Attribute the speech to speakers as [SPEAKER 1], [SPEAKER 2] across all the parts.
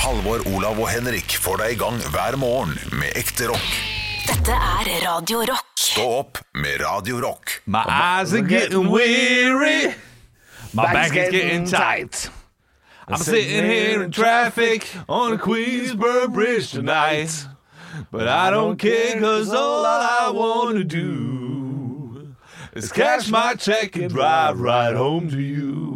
[SPEAKER 1] Halvor, Olav og Henrik får deg i gang hver morgen med ekte rock.
[SPEAKER 2] Dette er Radio Rock.
[SPEAKER 1] Stå opp med Radio Rock.
[SPEAKER 3] My eyes are getting weary. My back is getting tight. I'm sitting here in traffic on Queensborough Bridge tonight. But I don't care cause all I wanna do is cash my check and drive right home to you.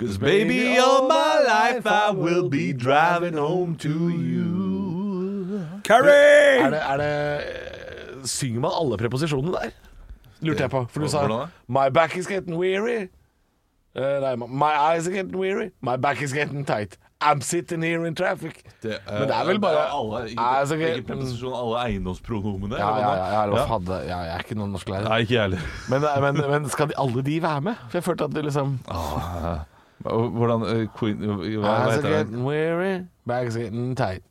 [SPEAKER 3] Cause baby, all my life I will be driving home to you. Carrie!
[SPEAKER 4] Er det, er det Synger man alle preposisjonene der? Lurte jeg på. For du sa
[SPEAKER 3] Hvordan da?
[SPEAKER 4] 'My back is getting weary'. Eh, nei, 'My eyes are getting weary'. 'My back is getting tight'. I'm sitting here in traffic. Men det er vel bare
[SPEAKER 3] eh, alle, ikke,
[SPEAKER 4] Nei, altså,
[SPEAKER 3] ikke
[SPEAKER 4] ikke-
[SPEAKER 3] preposisjon, alle eiendomspronomene.
[SPEAKER 4] Ja, ja, ja, ja, eller
[SPEAKER 3] Ja.
[SPEAKER 4] hva faen det- ja, jeg er ikke noen norsklærer.
[SPEAKER 3] Nei, ikke jeg heller.
[SPEAKER 4] Men, eh, men, men skal de, alle de være med? For jeg følte at det liksom
[SPEAKER 3] Hvordan eh, Queen Hva
[SPEAKER 4] Eyes are
[SPEAKER 3] heter den?
[SPEAKER 4] getting weary, back is getting tight.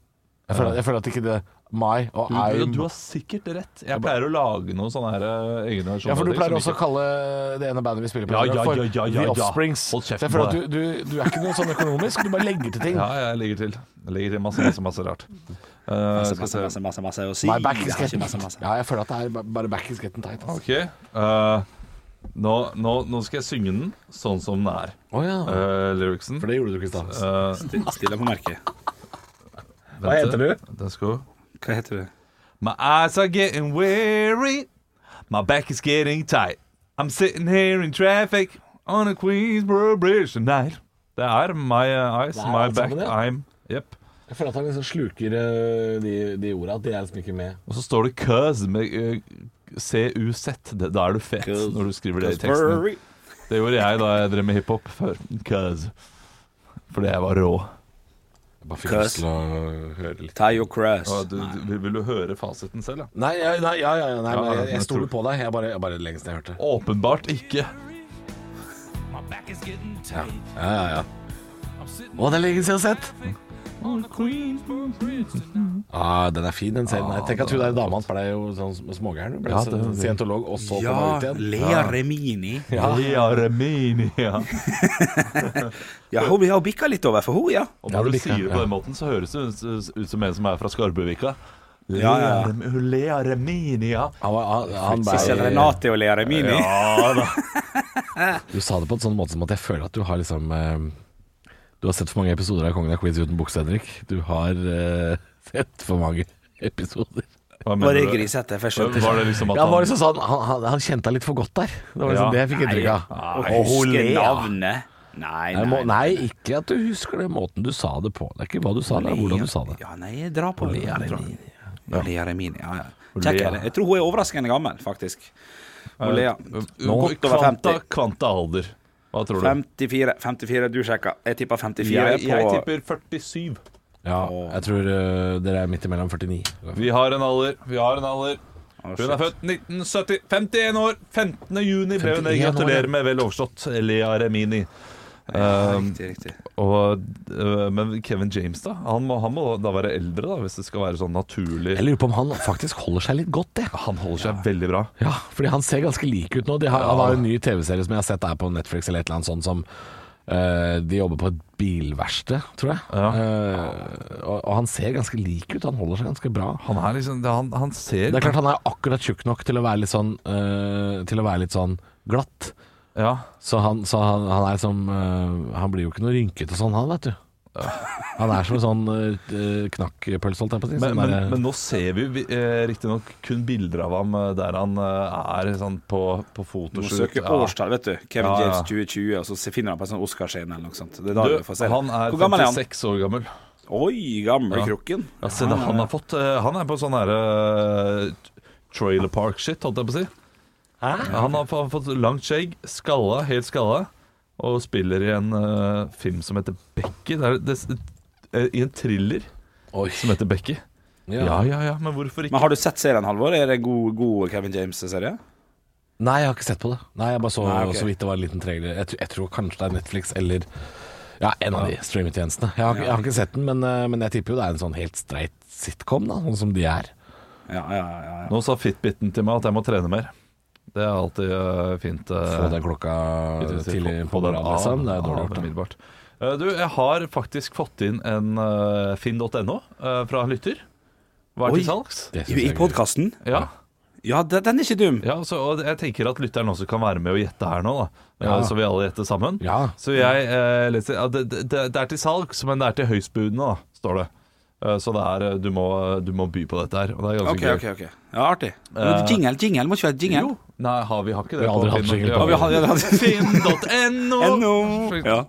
[SPEAKER 4] Jeg føler, jeg føler at ikke det My og
[SPEAKER 3] Du,
[SPEAKER 4] I'm
[SPEAKER 3] du har sikkert rett. Jeg pleier å lage noen sånne her eh, egne versjoner.
[SPEAKER 4] Ja, for du
[SPEAKER 3] av ting
[SPEAKER 4] pleier
[SPEAKER 3] som
[SPEAKER 4] også å
[SPEAKER 3] ikke-
[SPEAKER 4] kalle det ene bandet vi spiller på,
[SPEAKER 3] Ja, ja,
[SPEAKER 4] for
[SPEAKER 3] ja, ja, ja,
[SPEAKER 4] The
[SPEAKER 3] ja.
[SPEAKER 4] Offsprings.
[SPEAKER 3] Hold kjeften
[SPEAKER 4] Så jeg føler
[SPEAKER 3] på
[SPEAKER 4] at du, du, du er ikke noe sånn økonomisk, du bare legger til ting.
[SPEAKER 3] Ja, jeg legger til. Jeg legger til masse, masse, masse rart. Eh,
[SPEAKER 5] Masse,
[SPEAKER 3] skal
[SPEAKER 5] masse,
[SPEAKER 3] vi se.
[SPEAKER 5] masse, masse, masse å si.
[SPEAKER 4] My back
[SPEAKER 5] Jeg
[SPEAKER 4] is
[SPEAKER 5] har ikke
[SPEAKER 4] getting
[SPEAKER 5] masse, masse.
[SPEAKER 4] Ja, jeg føler at det er ba- bare back is getting tight. altså.
[SPEAKER 3] OK. eh, nå, nå, nå skal jeg synge den sånn som den er.
[SPEAKER 4] Å ja.
[SPEAKER 3] Eh, lyricsen. Eh,
[SPEAKER 4] For det gjorde du ikke i stad.
[SPEAKER 5] Still deg på merket.
[SPEAKER 3] Hva
[SPEAKER 5] heter du?
[SPEAKER 3] Den skal
[SPEAKER 5] Hva heter du?
[SPEAKER 3] My eyes are getting weary. My back is getting tight. I'm sitting here in traffic on a Queensboro Bridge tonight. Det er my uh, eyes,
[SPEAKER 4] Det er
[SPEAKER 3] my
[SPEAKER 4] alt
[SPEAKER 3] back,
[SPEAKER 4] sammen, ja.
[SPEAKER 3] I'm Yep.
[SPEAKER 4] Jeg føler at han liksom sluker eh, de, de orda, at de er liksom ikke med.
[SPEAKER 3] Og så står det 'cuz' med uh, C-U-Z. Det- Da er du fet
[SPEAKER 5] Cuz.
[SPEAKER 3] når du skriver det i teksten. din. Det gjorde jeg da jeg drev med hiphop før. 'Cuz'. Fordi jeg var rå.
[SPEAKER 4] Jeg bare
[SPEAKER 5] fikk lyst til
[SPEAKER 4] å høre litt.
[SPEAKER 5] Tie your cross.
[SPEAKER 3] Ja, du, du, vil du høre fasiten selv, ja?
[SPEAKER 4] Nei, ja, nei, ja, ja, nei, men
[SPEAKER 3] Ja,
[SPEAKER 4] jeg,
[SPEAKER 3] jeg
[SPEAKER 4] jeg
[SPEAKER 3] tror-
[SPEAKER 4] stoler på deg. Jeg bare, jeg bare lengst jeg hørte.
[SPEAKER 3] Åpenbart ikke.
[SPEAKER 4] Ja, ja, ja. Å, det er lenge siden jeg har sett. Ah, den er fin, den serien. her. Tenk at hun der dama hans ble jo sånn sm- smågæren. Hun Ble
[SPEAKER 3] Ja,
[SPEAKER 4] så-
[SPEAKER 3] det-
[SPEAKER 4] scientolog, og så kom hun ut
[SPEAKER 5] Ja,
[SPEAKER 4] igjen.
[SPEAKER 5] Lea Remini.
[SPEAKER 3] Ja. Lea Remini, ja.
[SPEAKER 5] Ja, hun har bikka litt over for hun, ja.
[SPEAKER 3] Og
[SPEAKER 4] Ja,
[SPEAKER 3] når
[SPEAKER 4] det
[SPEAKER 3] du
[SPEAKER 4] liker jeg,
[SPEAKER 3] sier det på
[SPEAKER 4] ja.
[SPEAKER 3] den måten, så høres det ut- ut som en som er fra Skarbøvika.
[SPEAKER 5] Ja, ja.
[SPEAKER 3] Lea Rem- Lea Reminia.
[SPEAKER 4] Han, var, han, han
[SPEAKER 5] Sissel
[SPEAKER 4] ble,
[SPEAKER 5] Renate og Lea Remini.
[SPEAKER 3] Ja da.
[SPEAKER 4] du sa det på en sånn måte som at jeg føler at du har liksom eh, Du har sett for mange episoder av Kongen av Queens uten bukse, Henrik. Du har eh, sett for mange episoder.
[SPEAKER 3] Hva mener
[SPEAKER 5] Var det
[SPEAKER 3] du?
[SPEAKER 5] grisete? For jeg skjønte
[SPEAKER 3] Var det liksom at
[SPEAKER 4] Ja, han, var
[SPEAKER 3] han
[SPEAKER 4] liksom sånn, han, han, han kjente deg litt for godt der. Det var liksom
[SPEAKER 3] Ja.
[SPEAKER 4] det jeg fikk inntrykk av.
[SPEAKER 5] Å
[SPEAKER 4] Og hun
[SPEAKER 5] huske
[SPEAKER 4] ler.
[SPEAKER 5] navnet. Nei,
[SPEAKER 4] Nei, må,
[SPEAKER 5] nei.
[SPEAKER 4] nei, ikke at du husker den måten du sa det på. Det er ikke hva du sa, det er hvordan du sa det.
[SPEAKER 5] Ja, nei, jeg drar på
[SPEAKER 4] Lea
[SPEAKER 5] jeg drar-
[SPEAKER 4] Remini.
[SPEAKER 5] Ja, Lea Remini, ja, ja.
[SPEAKER 3] Og
[SPEAKER 5] Kjekk
[SPEAKER 3] Lea.
[SPEAKER 5] er det. Jeg tror hun er overraskende gammel, faktisk. Og Lea.
[SPEAKER 3] Nå-
[SPEAKER 5] Godt over
[SPEAKER 3] Kvanta,
[SPEAKER 5] 50.
[SPEAKER 3] kvanta alder. Hva tror du?
[SPEAKER 5] 54, 54 du sjekka. Jeg tippa 54
[SPEAKER 3] Jeg,
[SPEAKER 5] på
[SPEAKER 3] jeg tipper 47.
[SPEAKER 4] Ja, jeg tror eh, dere er midt imellom 49.
[SPEAKER 3] Vi har en alder. Vi har en alder.
[SPEAKER 5] Å,
[SPEAKER 3] Hun er
[SPEAKER 5] shit.
[SPEAKER 3] født 1970. 51 år. 15. juni ble hun.
[SPEAKER 4] 51 år,
[SPEAKER 3] Gratulerer
[SPEAKER 4] ja.
[SPEAKER 3] med vel overstått, Lea Remini.
[SPEAKER 5] Ja,
[SPEAKER 3] Um,
[SPEAKER 5] Riktig, riktig.
[SPEAKER 3] Og, øh, men Kevin James, da? Han må, han må da være eldre, da, hvis det skal være sånn naturlig
[SPEAKER 4] Jeg lurer på om han faktisk holder seg litt godt, det.
[SPEAKER 3] Han holder seg veldig bra.
[SPEAKER 4] Ja, fordi han ser ganske lik ut nå. De har, Han har en ny TV-serie som jeg har sett er på Netflix eller et eller annet sånt som eh, De jobber på et bilverksted, tror jeg.
[SPEAKER 3] Ja.
[SPEAKER 4] Eh, og, og han ser ganske lik ut. Han holder seg ganske bra.
[SPEAKER 3] Han er liksom det- Han, han ser
[SPEAKER 4] Det er klart han er akkurat tjukk nok til å være litt sånn, eh, til å være litt sånn glatt.
[SPEAKER 3] Ja.
[SPEAKER 4] Så han, så han, han er som eh, Han blir jo ikke noe rynkete og sånn, han, vet du. Han er som en sånn eh, knakkpølse, holdt jeg
[SPEAKER 5] Liksom
[SPEAKER 4] på å si.
[SPEAKER 3] Men,
[SPEAKER 4] sånn
[SPEAKER 3] men,
[SPEAKER 4] derre-
[SPEAKER 3] men nå ser vi vi, eh, riktignok kun bilder av ham eh, der han eh, er sånn på, på
[SPEAKER 5] Du må
[SPEAKER 3] fotoshoot.
[SPEAKER 5] søke
[SPEAKER 3] Ja.
[SPEAKER 5] årstall, vet du. Kevin
[SPEAKER 3] Ja, ja.
[SPEAKER 5] James 2020, og så finner han på en sånn Oscarscene eller noe sånt. Det er da du, får
[SPEAKER 3] Du,
[SPEAKER 5] se. det.
[SPEAKER 3] han er
[SPEAKER 5] Hvor gammel er han?
[SPEAKER 3] 56 år gammel.
[SPEAKER 5] Oi, gamle
[SPEAKER 3] Ja.
[SPEAKER 5] krukken. Ah.
[SPEAKER 3] Ja, se det han har fått. eh, Han er på sånn herre trailer park-shit, holdt jeg på å si. Ja, Han har fa- fått langt skjegg, skalla, helt skalla, og spiller i en eh, film som heter Becky. Det er, det, eh, I en thriller
[SPEAKER 4] Oi.
[SPEAKER 3] som heter Becky.
[SPEAKER 4] Ja.
[SPEAKER 3] Ja, ja, ja, men hvorfor ikke?
[SPEAKER 5] Men har du sett serien, Halvor? Er det en god, god Kevin James-serie?
[SPEAKER 4] Nei, jeg har ikke sett på det. Nei, Jeg bare så,
[SPEAKER 5] Nei, ok.
[SPEAKER 4] så vidt det var en liten trailer. Jeg, tr- jeg tror kanskje det er Netflix eller ja, en av de streametjenestene. Jeg har, ikke- jeg har ikke sett den, men, eh, men jeg tipper jo det er en sånn helt streit sitcom, da, sånn som de er.
[SPEAKER 5] Ja, ja, ja. ja.
[SPEAKER 3] Nå sa Fitbiten til meg at jeg må trene mer. Det er alltid eh, fint. eh,
[SPEAKER 4] Få den klokka
[SPEAKER 3] fint å si.
[SPEAKER 4] tidlig
[SPEAKER 3] Få- få
[SPEAKER 4] på
[SPEAKER 3] den
[SPEAKER 4] morgenen,
[SPEAKER 3] av-
[SPEAKER 4] liksom. Det er dårlig
[SPEAKER 3] av
[SPEAKER 4] gjort. da.
[SPEAKER 3] umiddelbart. Eh, Du, jeg har faktisk fått inn en eh, finn.no eh, fra en lytter. Hva er
[SPEAKER 5] Oi.
[SPEAKER 3] til salgs?
[SPEAKER 4] Det synes
[SPEAKER 5] I, i
[SPEAKER 4] jeg er gøy.
[SPEAKER 5] podkasten?
[SPEAKER 3] Ja.
[SPEAKER 5] Ja, den den er ikke dum.
[SPEAKER 3] ja så, og jeg tenker at lytteren også kan være med og gjette her nå, da. Eh, Så vi alle gjetter sammen.
[SPEAKER 4] Ja.
[SPEAKER 3] Så jeg eh, leser ja, det, det, det er til salgs, men det er til høystbudene, da, står det. Eh, Så det er, eh, du, må, du må by på dette her. Og det er ganske
[SPEAKER 5] Ok,
[SPEAKER 3] gøy. Eh.
[SPEAKER 5] ok, ok. Ja, artig. Men jingle, jingle, må ikke være jingle.
[SPEAKER 3] Jo. Nei, har vi har ikke det.
[SPEAKER 4] Vi har aldri
[SPEAKER 3] på
[SPEAKER 4] hatt
[SPEAKER 3] Finn.
[SPEAKER 4] jingle på
[SPEAKER 3] Ja, vi har-
[SPEAKER 5] Ja, det hadde-
[SPEAKER 3] Finn.no.
[SPEAKER 5] NO. Ja.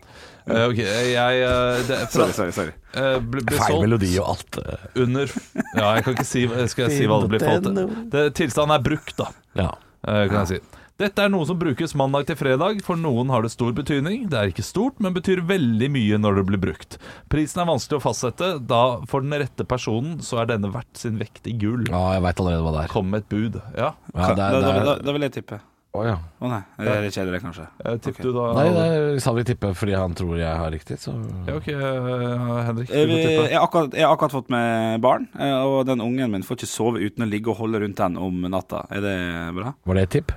[SPEAKER 3] Eh, Ok, jeg eh, det, fra,
[SPEAKER 5] Sorry, sorry. sorry.
[SPEAKER 3] eh, ble, ble
[SPEAKER 4] Feil
[SPEAKER 3] solgt
[SPEAKER 4] melodi og alt. eh,
[SPEAKER 3] under Ja, jeg kan ikke si, skal jeg si hva det blir fått det, Tilstanden er brukt, da,
[SPEAKER 4] Ja.
[SPEAKER 3] eh, kan jeg si. Dette er noe som brukes mandag til fredag. For noen har det stor betydning. Det er ikke stort, men betyr veldig mye når det blir brukt. Prisen er vanskelig å fastsette, da for den rette personen så er denne verdt sin vekt i gull.
[SPEAKER 4] ja, jeg veit allerede hva det er.
[SPEAKER 3] Kom med et bud. Ja,
[SPEAKER 4] Ja, det
[SPEAKER 5] Da,
[SPEAKER 4] er, det
[SPEAKER 5] da, da,
[SPEAKER 4] er,
[SPEAKER 5] da vil jeg tippe.
[SPEAKER 4] Å, ja.
[SPEAKER 5] Å nei, det er litt kjedelig, kanskje.
[SPEAKER 3] Eh, Tipp
[SPEAKER 5] Ok.
[SPEAKER 3] du da.
[SPEAKER 4] Nei,
[SPEAKER 3] Aldo.
[SPEAKER 4] det er- sa vi tippe fordi han tror jeg har riktig, så
[SPEAKER 3] Ja, ok, eh, Henrik.
[SPEAKER 5] Eh,
[SPEAKER 3] Du
[SPEAKER 5] vi-
[SPEAKER 3] må tippe.
[SPEAKER 5] Jeg har akkurat, jeg har akkurat fått meg barn, eh, og den ungen min får ikke sove uten å ligge og holde rundt den om natta. Er det bra?
[SPEAKER 4] Var det et tipp?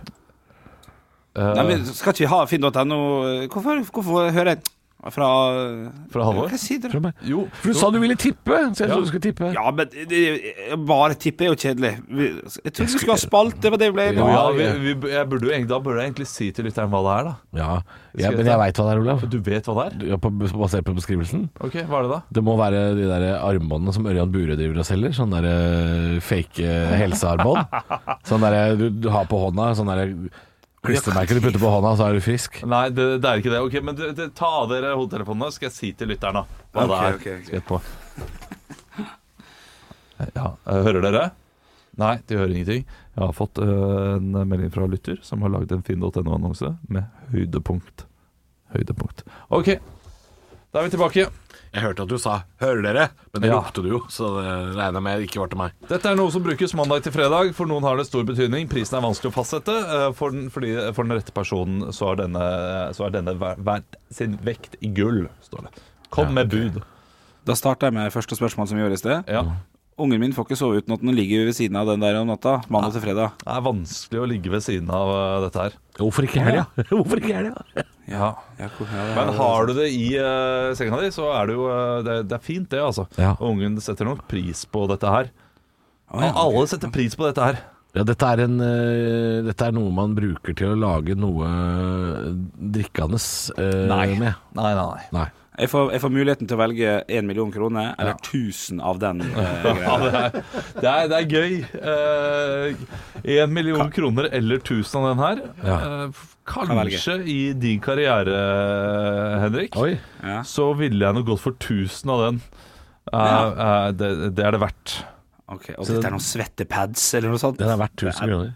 [SPEAKER 3] Eh,
[SPEAKER 5] Nei, men Skal ikke vi ha finn.no? Hvorfor, hvorfor hører jeg fra
[SPEAKER 3] Fra Halvor?
[SPEAKER 5] Hva sier
[SPEAKER 4] Tror
[SPEAKER 5] dere?
[SPEAKER 4] jeg meg.
[SPEAKER 3] jo,
[SPEAKER 4] For du sa du ville tippe, så jeg
[SPEAKER 3] Ja.
[SPEAKER 4] trodde du skulle tippe.
[SPEAKER 5] Ja, men det- det- bare tippe er jo kjedelig. Vi- Jeg trodde vi skulle ha spalt, det var det vi ble enige
[SPEAKER 3] jo,
[SPEAKER 5] om.
[SPEAKER 3] ja,
[SPEAKER 4] Ja,
[SPEAKER 3] vi,
[SPEAKER 4] ja.
[SPEAKER 3] vi, jeg burde jo, egentlig- da burde jeg egentlig si til lytteren hva det er, da.
[SPEAKER 4] Ja, ja Men jeg veit hva det er, Olav.
[SPEAKER 3] Du vet hva det er?
[SPEAKER 4] Du- ja, på- Basert på beskrivelsen.
[SPEAKER 3] Ok, Hva er det da?
[SPEAKER 4] Det må være de der armbåndene som Ørjan Burøe driver og selger. Sånne der eh, fake eh, helsearmbånd. Sånn der du, du har på hånda. Sånne der eh, klistremerker du putter på hånda, så er du frisk.
[SPEAKER 3] Nei, det, det er ikke det. Ok, Men du, du, ta av dere hodetelefonene, skal jeg si til lytteren da hva
[SPEAKER 5] Ok,
[SPEAKER 3] det er.
[SPEAKER 5] ok, ok.
[SPEAKER 3] Skal jeg på. Ja, eh, Hører dere? Nei, de hører ingenting. Jeg har fått eh, en melding fra lytter som har lagd en finn.no-annonse med høydepunkt. Høydepunkt. Ok, da er vi tilbake.
[SPEAKER 4] Jeg hørte at du sa 'hører dere', men
[SPEAKER 3] det
[SPEAKER 4] ropte du jo, så det regner jeg med ikke var til meg.
[SPEAKER 3] Dette er noe som brukes mandag til fredag. For noen har det stor betydning. Prisen er vanskelig å fastsette. eh, For den, fordi, for den rette personen så er denne, eh, så er denne ver, ver, sin vekt i gull, står det. Kom med bud.
[SPEAKER 5] Da starter jeg med første spørsmål som vi gjorde i sted.
[SPEAKER 3] Ja.
[SPEAKER 5] Ungen min får ikke sove uten at den ligger ved siden av den der om natta, mandag til fredag.
[SPEAKER 3] Det er vanskelig å ligge ved siden av eh, dette her.
[SPEAKER 4] Hvorfor ikke i helga? Hvorfor ikke i helga?
[SPEAKER 3] Ja.
[SPEAKER 5] Ja, hvor- ja, det-
[SPEAKER 3] Men har du det i eh, senga di, så er det jo eh, det, det er fint, det, altså.
[SPEAKER 4] Ja.
[SPEAKER 3] Og Ungen setter nok pris på dette her.
[SPEAKER 5] Å, ja, ok.
[SPEAKER 3] Alle setter pris på dette her.
[SPEAKER 4] Ja, dette er, en, eh, dette er noe man bruker til å lage noe drikkende eh, med.
[SPEAKER 3] Nei, nei, nei.
[SPEAKER 4] Nei.
[SPEAKER 5] Jeg får, jeg får muligheten til å velge 1 million kroner, eller 1000 av den. eh,
[SPEAKER 3] Ja,
[SPEAKER 5] greia.
[SPEAKER 3] det, er, det, er, det er gøy. Én million kroner eller 1000 av den her.
[SPEAKER 4] Ja.
[SPEAKER 3] Eh, f- kanskje i din karriere, Henrik,
[SPEAKER 4] Oi.
[SPEAKER 5] Ja.
[SPEAKER 3] så ville jeg nå gått for 1000 av den. Eh, eh, det, det er det verdt.
[SPEAKER 5] Ok, Og dette er noen svette pads, eller noe sånt?
[SPEAKER 4] Den er verdt 1000 kroner.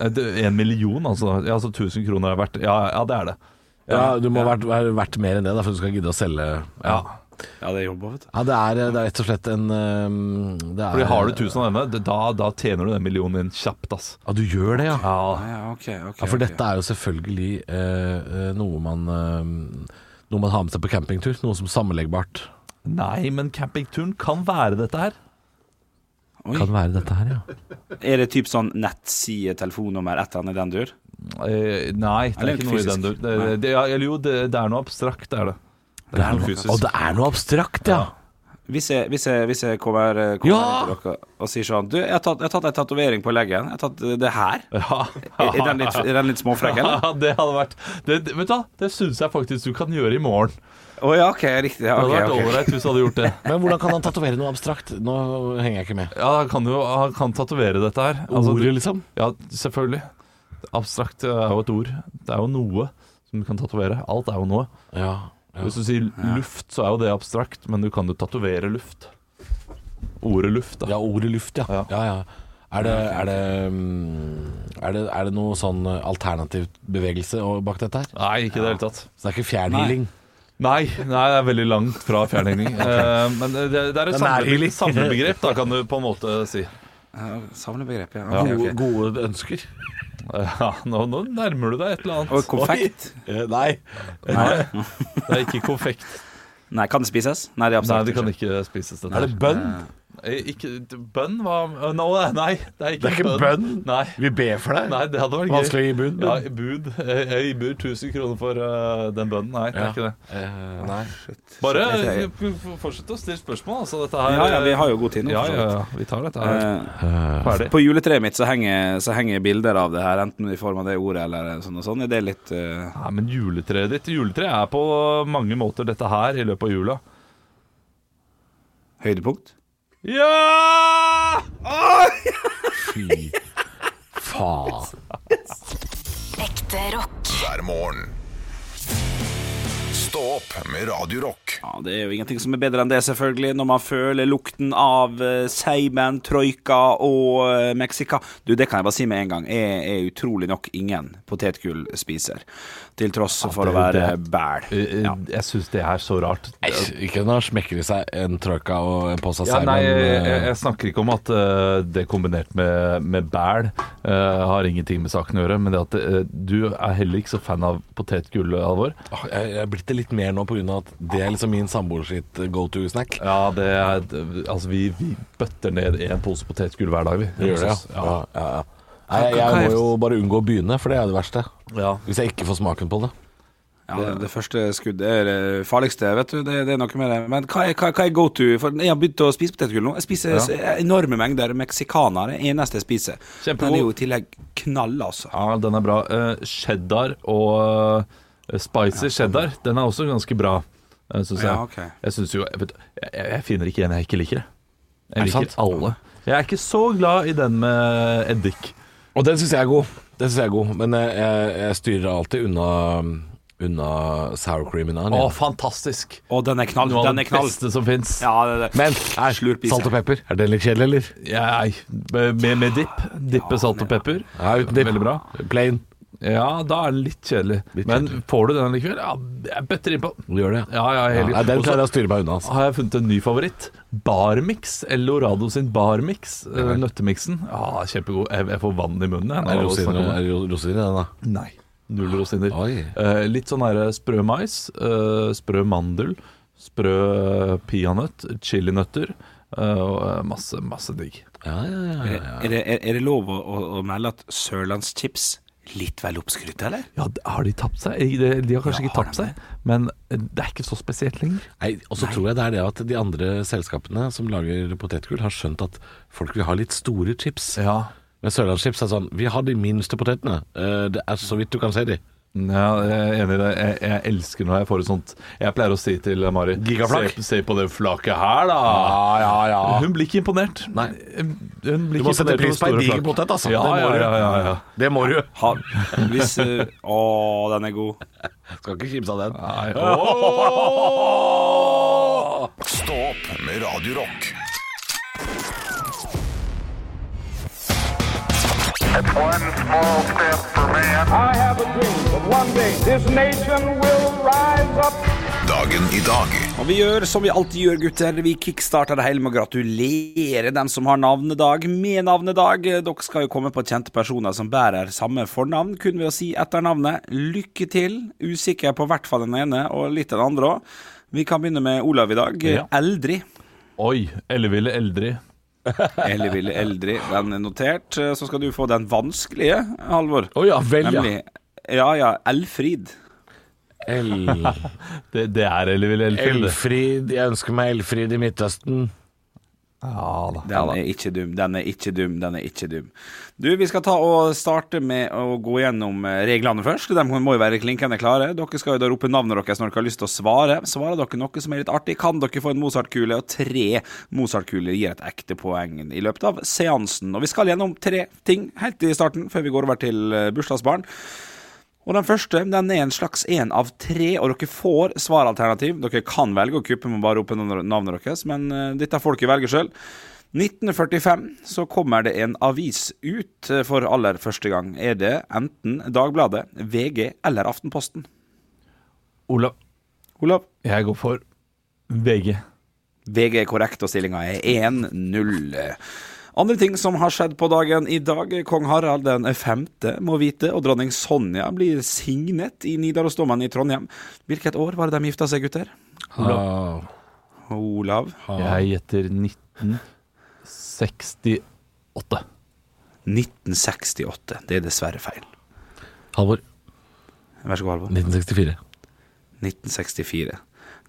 [SPEAKER 3] Én Eh, million, altså. Ja, altså 1000 kroner er verdt Ja, ja det er det.
[SPEAKER 4] Ja, du må ha vært, være verdt mer enn det da, for du skal gidde å selge. Ja,
[SPEAKER 5] Ja, det er jobba, vet du.
[SPEAKER 4] ja det, er, det er rett og slett en ehm, det er,
[SPEAKER 3] Fordi Har du 1000 av denne, det- da, da tjener du den millionen din kjapt, ass.
[SPEAKER 4] Ja, du gjør det, ja.
[SPEAKER 5] Ah, Ja, ok, ok,
[SPEAKER 4] Ja, For
[SPEAKER 5] ok.
[SPEAKER 4] dette er jo selvfølgelig eh, eh, noe man eh, noe man har med seg på campingtur. Noe som sammenleggbart
[SPEAKER 3] Nei, men campingturen kan være dette her.
[SPEAKER 5] Oi.
[SPEAKER 4] kan være dette her, ja.
[SPEAKER 5] Er det typ sånn nettside, telefonnummer, et eller annet i den dur?
[SPEAKER 3] Eh, nei, det er
[SPEAKER 5] Eller
[SPEAKER 3] ikke noe i
[SPEAKER 5] fysisk.
[SPEAKER 3] den dur. Det, det, ja, eller jo, det, det er noe abstrakt, det er det. Det er noe fysisk.
[SPEAKER 4] Og det er noe abstrakt, ja.
[SPEAKER 5] Hvis jeg, hvis jeg, hvis jeg kommer, eh, kommer
[SPEAKER 4] Ja!
[SPEAKER 5] inn til dere og sier sånn Du, jeg har tatt, jeg har tatt en tatovering på leggen. Jeg har tatt eh, det her.
[SPEAKER 3] Ja.
[SPEAKER 5] Er, er den litt, er den litt småfrekk, eller?
[SPEAKER 3] Ja, det hadde vært det, det- Vet du hva, det syns jeg faktisk du kan gjøre i morgen.
[SPEAKER 5] Å ja, ok, riktig. Ja,
[SPEAKER 3] Det hadde
[SPEAKER 5] ok,
[SPEAKER 3] vært
[SPEAKER 5] ok.
[SPEAKER 3] ålreit hvis du hadde gjort det.
[SPEAKER 4] Men hvordan kan han tatovere noe abstrakt? Nå henger jeg ikke med.
[SPEAKER 3] Ja, Han kan jo han kan tatovere dette her. Altså,
[SPEAKER 4] Ordet,
[SPEAKER 3] du,
[SPEAKER 4] liksom?
[SPEAKER 3] ja, selvfølgelig. Abstrakt eh, er jo et ord. Det er jo noe som du kan tatovere. Alt er jo noe.
[SPEAKER 4] Ja. ja.
[SPEAKER 3] Hvis du sier luft, så er jo det abstrakt, men du kan jo tatovere luft. Ordet luft, da.
[SPEAKER 4] Ja, ordet luft, ja.
[SPEAKER 3] Ja.
[SPEAKER 4] ja, ja. Er, det, er, det, mm, er, det, er det noe sånn alternativ bevegelse og- bak dette her?
[SPEAKER 3] Nei, ikke i det hele tatt.
[SPEAKER 4] Så det er ikke fjernhealing?
[SPEAKER 3] Nei, nei, det er veldig langt fra fjernhegning. Eh, men det, det er et
[SPEAKER 4] Det er
[SPEAKER 3] samlebegrep,
[SPEAKER 4] nærhealing.
[SPEAKER 3] samlebegrep, da, kan du på en måte si.
[SPEAKER 5] Ja, Samlebegrep, ja. Ok, ok.
[SPEAKER 4] Gode, gode ønsker?
[SPEAKER 3] Eh, Ja, nå, nå nærmer du deg et eller annet.
[SPEAKER 5] Og konfekt?
[SPEAKER 4] Eh, Nei.
[SPEAKER 3] Nei, det er ikke konfekt.
[SPEAKER 5] Nei, kan det spises? Nei, det
[SPEAKER 3] Nei,
[SPEAKER 5] er abstrakt.
[SPEAKER 3] det kan ikke spises, dette
[SPEAKER 4] Er
[SPEAKER 3] her.
[SPEAKER 4] det bønn?
[SPEAKER 3] Eh, Ikke bønn? Hva eh, Nå, nei, det er ikke,
[SPEAKER 4] Det er ikke bønn.
[SPEAKER 3] Nei.
[SPEAKER 4] Vi ber for deg.
[SPEAKER 3] Nei, det hadde vært gøy.
[SPEAKER 4] Vanskelig å gi bud, men-
[SPEAKER 3] Ja, bud. Eh, Jeg, jeg gir bud 1000 kroner for eh, den bønnen. Nei, det er ikke det.
[SPEAKER 4] Eh, nei.
[SPEAKER 3] Bare eh,
[SPEAKER 5] jeg-
[SPEAKER 3] f- f- fortsett å stille spørsmål, altså. Dette her
[SPEAKER 5] Ja, ja, vi har jo god tid nå.
[SPEAKER 3] Ja,
[SPEAKER 5] for så
[SPEAKER 3] ja,
[SPEAKER 5] vidt.
[SPEAKER 3] ja, vi tar dette her.
[SPEAKER 5] Eh,
[SPEAKER 3] Ferdig.
[SPEAKER 5] På juletreet mitt så henger, så henger bilder av det her, enten i form av det ordet eller sånn og sånn. Er det litt eh,
[SPEAKER 3] Nei, men juletreet ditt Juletreet er på mange måter dette her i løpet av jula.
[SPEAKER 5] høydepunkt?
[SPEAKER 3] Ja!
[SPEAKER 4] Fy faen.
[SPEAKER 2] Ekte rock.
[SPEAKER 1] hver morgen. Stå opp med Radio Rock.
[SPEAKER 5] Ja, Det er jo ingenting som er bedre enn det, selvfølgelig, når man føler lukten av eh, seimen, troika og eh, mexica. Du, det kan jeg bare si med en gang. Jeg er utrolig nok ingen potetgull spiser, til tross for
[SPEAKER 3] det er
[SPEAKER 5] å
[SPEAKER 3] jo
[SPEAKER 5] være
[SPEAKER 3] det.
[SPEAKER 5] bæl.
[SPEAKER 3] Ja. Eh, Jeg syns det er så rart.
[SPEAKER 4] Eish, Ikke når han smekker i seg en troika og en pose
[SPEAKER 3] Ja,
[SPEAKER 4] seimen.
[SPEAKER 3] nei, jeg, jeg,
[SPEAKER 4] eh,
[SPEAKER 3] jeg snakker ikke om at eh, det kombinert med, med bæl eh, har ingenting med saken å gjøre, men det at eh, du er heller ikke så fan av potetgull, Alvor.
[SPEAKER 4] åh, jeg, jeg er blitt det litt mer nå pga. at det er liksom min samboer sitt go to snack.
[SPEAKER 3] Ja, det er Altså, vi, vi bøtter ned én pose potetgull hver dag, vi.
[SPEAKER 4] Det gjør det, ja. ja, ja, ja. Nei, jeg, jeg må jo bare unngå å begynne, for det er det verste.
[SPEAKER 3] Ja.
[SPEAKER 4] Hvis jeg ikke får smaken på det.
[SPEAKER 5] Ja, det, det første skuddet er det farligste, vet du. Det, det er noe med det. Men hva er, hva, hva er go to? For jeg har begynt å spise potetgull nå. Jeg spiser s- enorme mengder meksikaner. Det eneste jeg spiser.
[SPEAKER 3] Kjempegod.
[SPEAKER 5] Den er jo i tillegg knall, altså.
[SPEAKER 3] Ja, den er bra. Eh, cheddar og eh, spicy cheddar, den er også ganske bra, eh, syns jeg.
[SPEAKER 5] sånn, Ja, ok.
[SPEAKER 3] Jeg syns jo jeg, vet, jeg, jeg finner ikke en jeg ikke liker. jeg.
[SPEAKER 4] Er
[SPEAKER 3] Jeg
[SPEAKER 4] det
[SPEAKER 3] liker
[SPEAKER 4] sant?
[SPEAKER 3] alle. Jeg er ikke så glad i den med eddik.
[SPEAKER 4] Og den syns jeg er god. Den synes jeg er god Men jeg, jeg, jeg styrer alltid unna, unna sour cream in
[SPEAKER 3] Å,
[SPEAKER 4] onion.
[SPEAKER 3] fantastisk!
[SPEAKER 5] Og den er knall.
[SPEAKER 3] Noe av
[SPEAKER 5] Den
[SPEAKER 3] det
[SPEAKER 5] er knall.
[SPEAKER 3] beste som fins.
[SPEAKER 5] Ja, det, er det.
[SPEAKER 4] Men nei,
[SPEAKER 5] Slurp i seg.
[SPEAKER 4] salt og pepper, er den litt kjedelig, eller?
[SPEAKER 3] Nei, med, med dipp. Dippe salt og pepper.
[SPEAKER 4] Ja, uten dipp.
[SPEAKER 3] Veldig bra.
[SPEAKER 4] Plain.
[SPEAKER 3] Ja, da er det litt kjedelig.
[SPEAKER 4] Litt
[SPEAKER 3] Men
[SPEAKER 4] kjedelig.
[SPEAKER 3] får du den likevel? Ja, jeg bøtter innpå.
[SPEAKER 4] Du gjør det,
[SPEAKER 3] Ja, ja,
[SPEAKER 4] Ja,
[SPEAKER 3] helt
[SPEAKER 4] nei, den
[SPEAKER 3] Og så
[SPEAKER 4] klarer jeg å styre meg unna. Altså.
[SPEAKER 3] har jeg funnet en ny favoritt. Barmix. Elorado sin Barmix. eh, Nøttemiksen. Ja, kjempegod. Jeg, jeg får vann i munnen. Jeg,
[SPEAKER 4] Er
[SPEAKER 3] når
[SPEAKER 4] det
[SPEAKER 3] jeg
[SPEAKER 4] rosiner
[SPEAKER 3] snakker om
[SPEAKER 4] er
[SPEAKER 3] det.
[SPEAKER 4] det ro- rosiner i den, da?
[SPEAKER 3] Nei. Null rosiner.
[SPEAKER 4] Oi.
[SPEAKER 3] Eh, litt sånn her sprø mais, eh, sprø mandel, sprø eh, peanøtt, chilinøtter. eh, og eh, masse, masse digg.
[SPEAKER 4] Ja, ja, ja, ja.
[SPEAKER 5] Er, det, er, er det lov å, å, å melde at sørlandschips litt vel oppskrytt, eller?
[SPEAKER 3] Ja, d- har de tapt seg? Eh, De, de har kanskje
[SPEAKER 5] Ja,
[SPEAKER 3] ikke tapt
[SPEAKER 5] har de
[SPEAKER 3] seg, men eh, det er ikke så spesielt lenger.
[SPEAKER 4] Nei, og så tror jeg det er det at de andre selskapene som lager potetgull, har skjønt at folk vil ha litt store chips.
[SPEAKER 3] Ja,
[SPEAKER 4] Men Sørlandschips er sånn Vi har de minste potetene. Eh, Det er så vidt du kan se de.
[SPEAKER 3] jeg er enig i det. Jeg, jeg elsker når jeg får et sånt Jeg pleier å si til Mari
[SPEAKER 4] Gigaflak?
[SPEAKER 3] Se, se på det flaket her, da.
[SPEAKER 4] ja,
[SPEAKER 3] Hun blir ikke imponert.
[SPEAKER 4] Nei.
[SPEAKER 3] Hun blir
[SPEAKER 4] Du må
[SPEAKER 3] ikke
[SPEAKER 4] sette
[SPEAKER 3] imponert
[SPEAKER 4] pris på
[SPEAKER 3] over store
[SPEAKER 4] ei diger
[SPEAKER 3] flak.
[SPEAKER 4] potet, altså.
[SPEAKER 3] Ja,
[SPEAKER 4] det,
[SPEAKER 3] ja,
[SPEAKER 4] må du.
[SPEAKER 3] ja, ja, ja.
[SPEAKER 4] det må du.
[SPEAKER 5] Har, hvis, eh, å, den er god.
[SPEAKER 4] Skal ikke kimse av den.
[SPEAKER 3] Nei, åh!
[SPEAKER 1] Stå opp med Radio Rock.
[SPEAKER 6] One small step for man. I have a dream that one day this nation will rise up.
[SPEAKER 1] Dagen i dag.
[SPEAKER 5] Og vi gjør som vi alltid gjør, gutter. Vi kickstarter det hele med å gratulere dem som har navnedag med navnedag. Dere skal jo komme på kjente personer som bærer samme fornavn, kun ved å si etternavnet. Lykke til. Usikker på hvert fall den ene, og litt den andre òg. Vi kan begynne med Olav i dag.
[SPEAKER 3] Ja.
[SPEAKER 5] Eldri.
[SPEAKER 3] Oi, elleville eldri.
[SPEAKER 5] Elleville Eldri. Den er notert. Så skal du få den vanskelige, Halvor.
[SPEAKER 4] Å ja vel, ja.
[SPEAKER 5] Nemlig Ja, ja. Elfrid.
[SPEAKER 4] El
[SPEAKER 3] Det, det er elleville eldri.
[SPEAKER 4] Elfrid. Jeg ønsker meg Elfrid i Midtøsten.
[SPEAKER 3] Ja da.
[SPEAKER 5] Den er ikke dum, den er ikke dum, den er ikke dum. Du, vi skal ta og starte med å gå gjennom eh, reglene først. De må jo være klinkende klare. Dere skal jo da rope navnet deres når dere har lyst til å svare. Svarer dere noe som er litt artig, kan dere få en Mozart-kule, og tre Mozart-kuler gir et ekte poeng i løpet av seansen. Og vi skal gjennom tre ting helt i starten, før vi går over til eh, bursdagsbarn. Og den første den er en slags én av tre, og dere får svaralternativ. Dere kan velge å kuppe med bare opp navnet deres, men eh, dette får dere velge sjøl. 1945 så kommer det en avis ut eh, for aller første gang. Er det enten Dagbladet, VG eller Aftenposten?
[SPEAKER 3] Olav,
[SPEAKER 5] Olav?
[SPEAKER 3] jeg går for VG.
[SPEAKER 5] VG er korrekt, og stillinga er 1-0. Andre ting som har skjedd på dagen i dag. Kong Harald den femte må vite, og dronning Sonja blir signet i Nidarosdomen i Trondheim. Hvilket år var det de gifta seg, gutter?
[SPEAKER 4] Olav.
[SPEAKER 5] Olav?
[SPEAKER 3] Jeg gjetter 19
[SPEAKER 4] 1968.
[SPEAKER 5] 1968. Det er dessverre feil.
[SPEAKER 4] Halvor.
[SPEAKER 5] Vær så god, Halvor.
[SPEAKER 4] 1964.
[SPEAKER 5] 1964.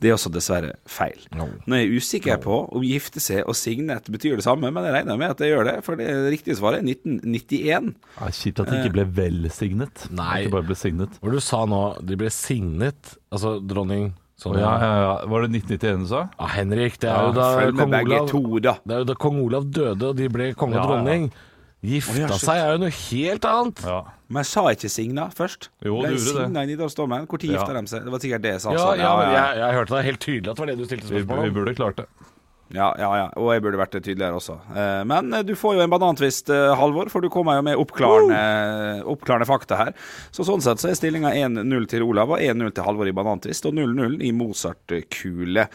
[SPEAKER 5] Det er også dessverre feil.
[SPEAKER 4] No.
[SPEAKER 5] Nå er jeg usikker på om gifte seg og signett betyr det samme, men jeg regner med at det gjør det, for det riktige svaret er 1991.
[SPEAKER 3] Ja, kjipt at de ikke ble velsignet.
[SPEAKER 4] Nei.
[SPEAKER 3] At de bare ble signet.
[SPEAKER 4] Hvor du sa nå de ble signet Altså dronning
[SPEAKER 3] Å,
[SPEAKER 4] Sonja
[SPEAKER 3] ja, ja, ja. Var det 1991 du sa?
[SPEAKER 4] Ja, Henrik, det er jo da
[SPEAKER 5] Følg med
[SPEAKER 4] kong
[SPEAKER 5] begge
[SPEAKER 4] Olav
[SPEAKER 5] to, da.
[SPEAKER 4] Det er jo da kong Olav døde og de ble konge og
[SPEAKER 3] Ja, ja.
[SPEAKER 4] dronning Gifta
[SPEAKER 5] Å, ja, shit.
[SPEAKER 4] seg er jo noe helt annet
[SPEAKER 3] Ja.
[SPEAKER 5] Men jeg sa ikke signa først.
[SPEAKER 3] Jo, du
[SPEAKER 5] Ble
[SPEAKER 3] gjorde det.
[SPEAKER 5] signa i Nidarosdomen. Når
[SPEAKER 3] Ja.
[SPEAKER 5] gifta de seg? Det var sikkert det jeg sa.
[SPEAKER 4] Ja, altså,
[SPEAKER 5] sa.
[SPEAKER 4] ja, men Jeg, jeg hørte deg helt tydelig at det var det du stilte
[SPEAKER 3] Vi,
[SPEAKER 4] spørsmål
[SPEAKER 3] vi
[SPEAKER 4] om
[SPEAKER 3] burde klart det.
[SPEAKER 5] Ja, ja, ja. Og jeg burde vært det tydeligere også. Eh, Men eh, du får jo en banantvist, eh, Halvor, for du kommer jo med oppklarende, oppklarende fakta her. Så sånn sett så er stillinga 1-0 til Olav og 1-0 til Halvor i banantvist, og 0-0 i Mozart-kule.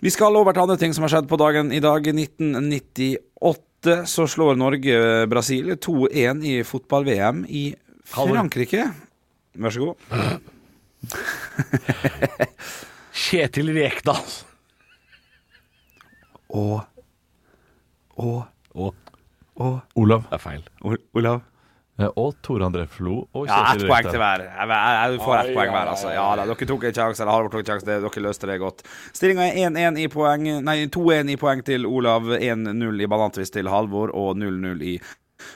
[SPEAKER 5] Vi skal over til andre ting som har skjedd på dagen i dag. 1998 så slår Norge eh, Brasil 2-1 i fotball-VM i
[SPEAKER 4] Halvor.
[SPEAKER 5] Frankrike. Vær så god.
[SPEAKER 4] Kjetil Rekdal
[SPEAKER 5] Og Og
[SPEAKER 4] Å,
[SPEAKER 5] Og
[SPEAKER 3] Olav
[SPEAKER 4] det er feil
[SPEAKER 5] Ol- Olav?
[SPEAKER 3] eh, og Tore André Flo og
[SPEAKER 5] Ja, ett
[SPEAKER 3] Kjetil
[SPEAKER 5] poeng
[SPEAKER 3] Rekdal.
[SPEAKER 5] til hver. Jeg- jeg- jeg- Du får ett poeng hver, altså. Ja da, dere tok en sjanse, eller Halvor tok en sjanse, det- dere løste det godt. Stillinga er 1-1 i poeng, nei 2-1 i poeng til Olav, 1-0 i banantvist til Halvor og 0-0 i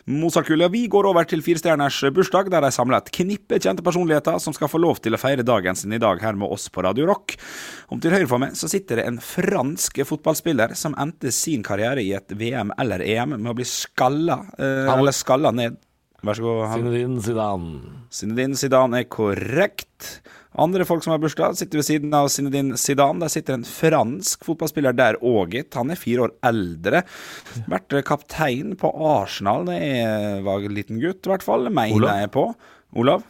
[SPEAKER 5] Mozartkule. Vi går over til firestjerners bursdag, der de samler et knippe kjente personligheter som skal få lov til å feire dagen sin i dag her med oss på Radio Rock. Om til høyre for meg så sitter det en fransk fotballspiller som endte sin karriere i et VM eller EM med å bli skalla, eh, eller skalla ned. Vær så god. Halvor.
[SPEAKER 4] Zinedine Zidane
[SPEAKER 5] Zinedine Zidane er korrekt. Andre folk som har bursdag, sitter ved siden av Zinedine Zidane. Der sitter en fransk fotballspiller der òg, gitt. Han er fire år eldre. Vært kaptein på Arsenal da jeg var en liten gutt, i hvert fall.
[SPEAKER 3] Olav?
[SPEAKER 5] Mener jeg på. Olav?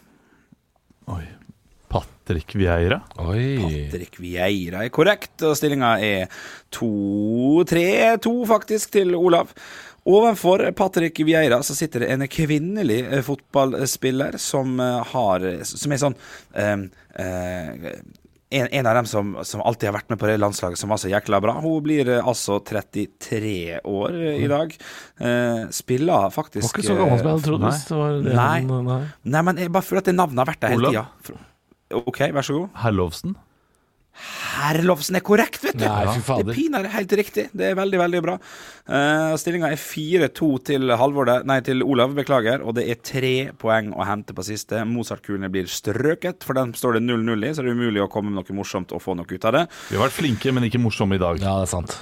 [SPEAKER 3] Oi. Patrick Vieira.
[SPEAKER 4] Oi
[SPEAKER 5] Patrick Vieira er korrekt, og stillinga er 2-3-2 faktisk til Olav. Ovenfor Patrick Vieira så sitter det en kvinnelig eh, fotballspiller som eh, har Som er sånn eh, eh, en, en av dem som, som alltid har vært med på det landslaget, som var så jækla bra. Hun blir eh, altså 33 år eh, i dag. Eh, spiller faktisk
[SPEAKER 4] Var ikke så gammel som jeg
[SPEAKER 5] eh,
[SPEAKER 4] hadde trodd hvis det var det
[SPEAKER 5] Nei.
[SPEAKER 4] han- nei.
[SPEAKER 5] Nei, men jeg bare føler at det navnet har vært der hele
[SPEAKER 3] Olav?
[SPEAKER 5] tida. OK, vær så god.
[SPEAKER 3] Herlovsen.
[SPEAKER 5] Herlovsen er korrekt, vet du!
[SPEAKER 4] Nei, fy fader.
[SPEAKER 5] Det er pinadø helt riktig. Det er veldig, veldig bra. Uh, Stillinga er 4-2 til Halvor der- Nei, til Olav, beklager. Og det er tre poeng å hente på siste. Mozart-kulene blir strøket, for den står det 0-0 i, så det er umulig å komme med noe morsomt og få noe ut av det.
[SPEAKER 3] Vi har vært flinke, men ikke morsomme i dag.
[SPEAKER 4] Ja, det er sant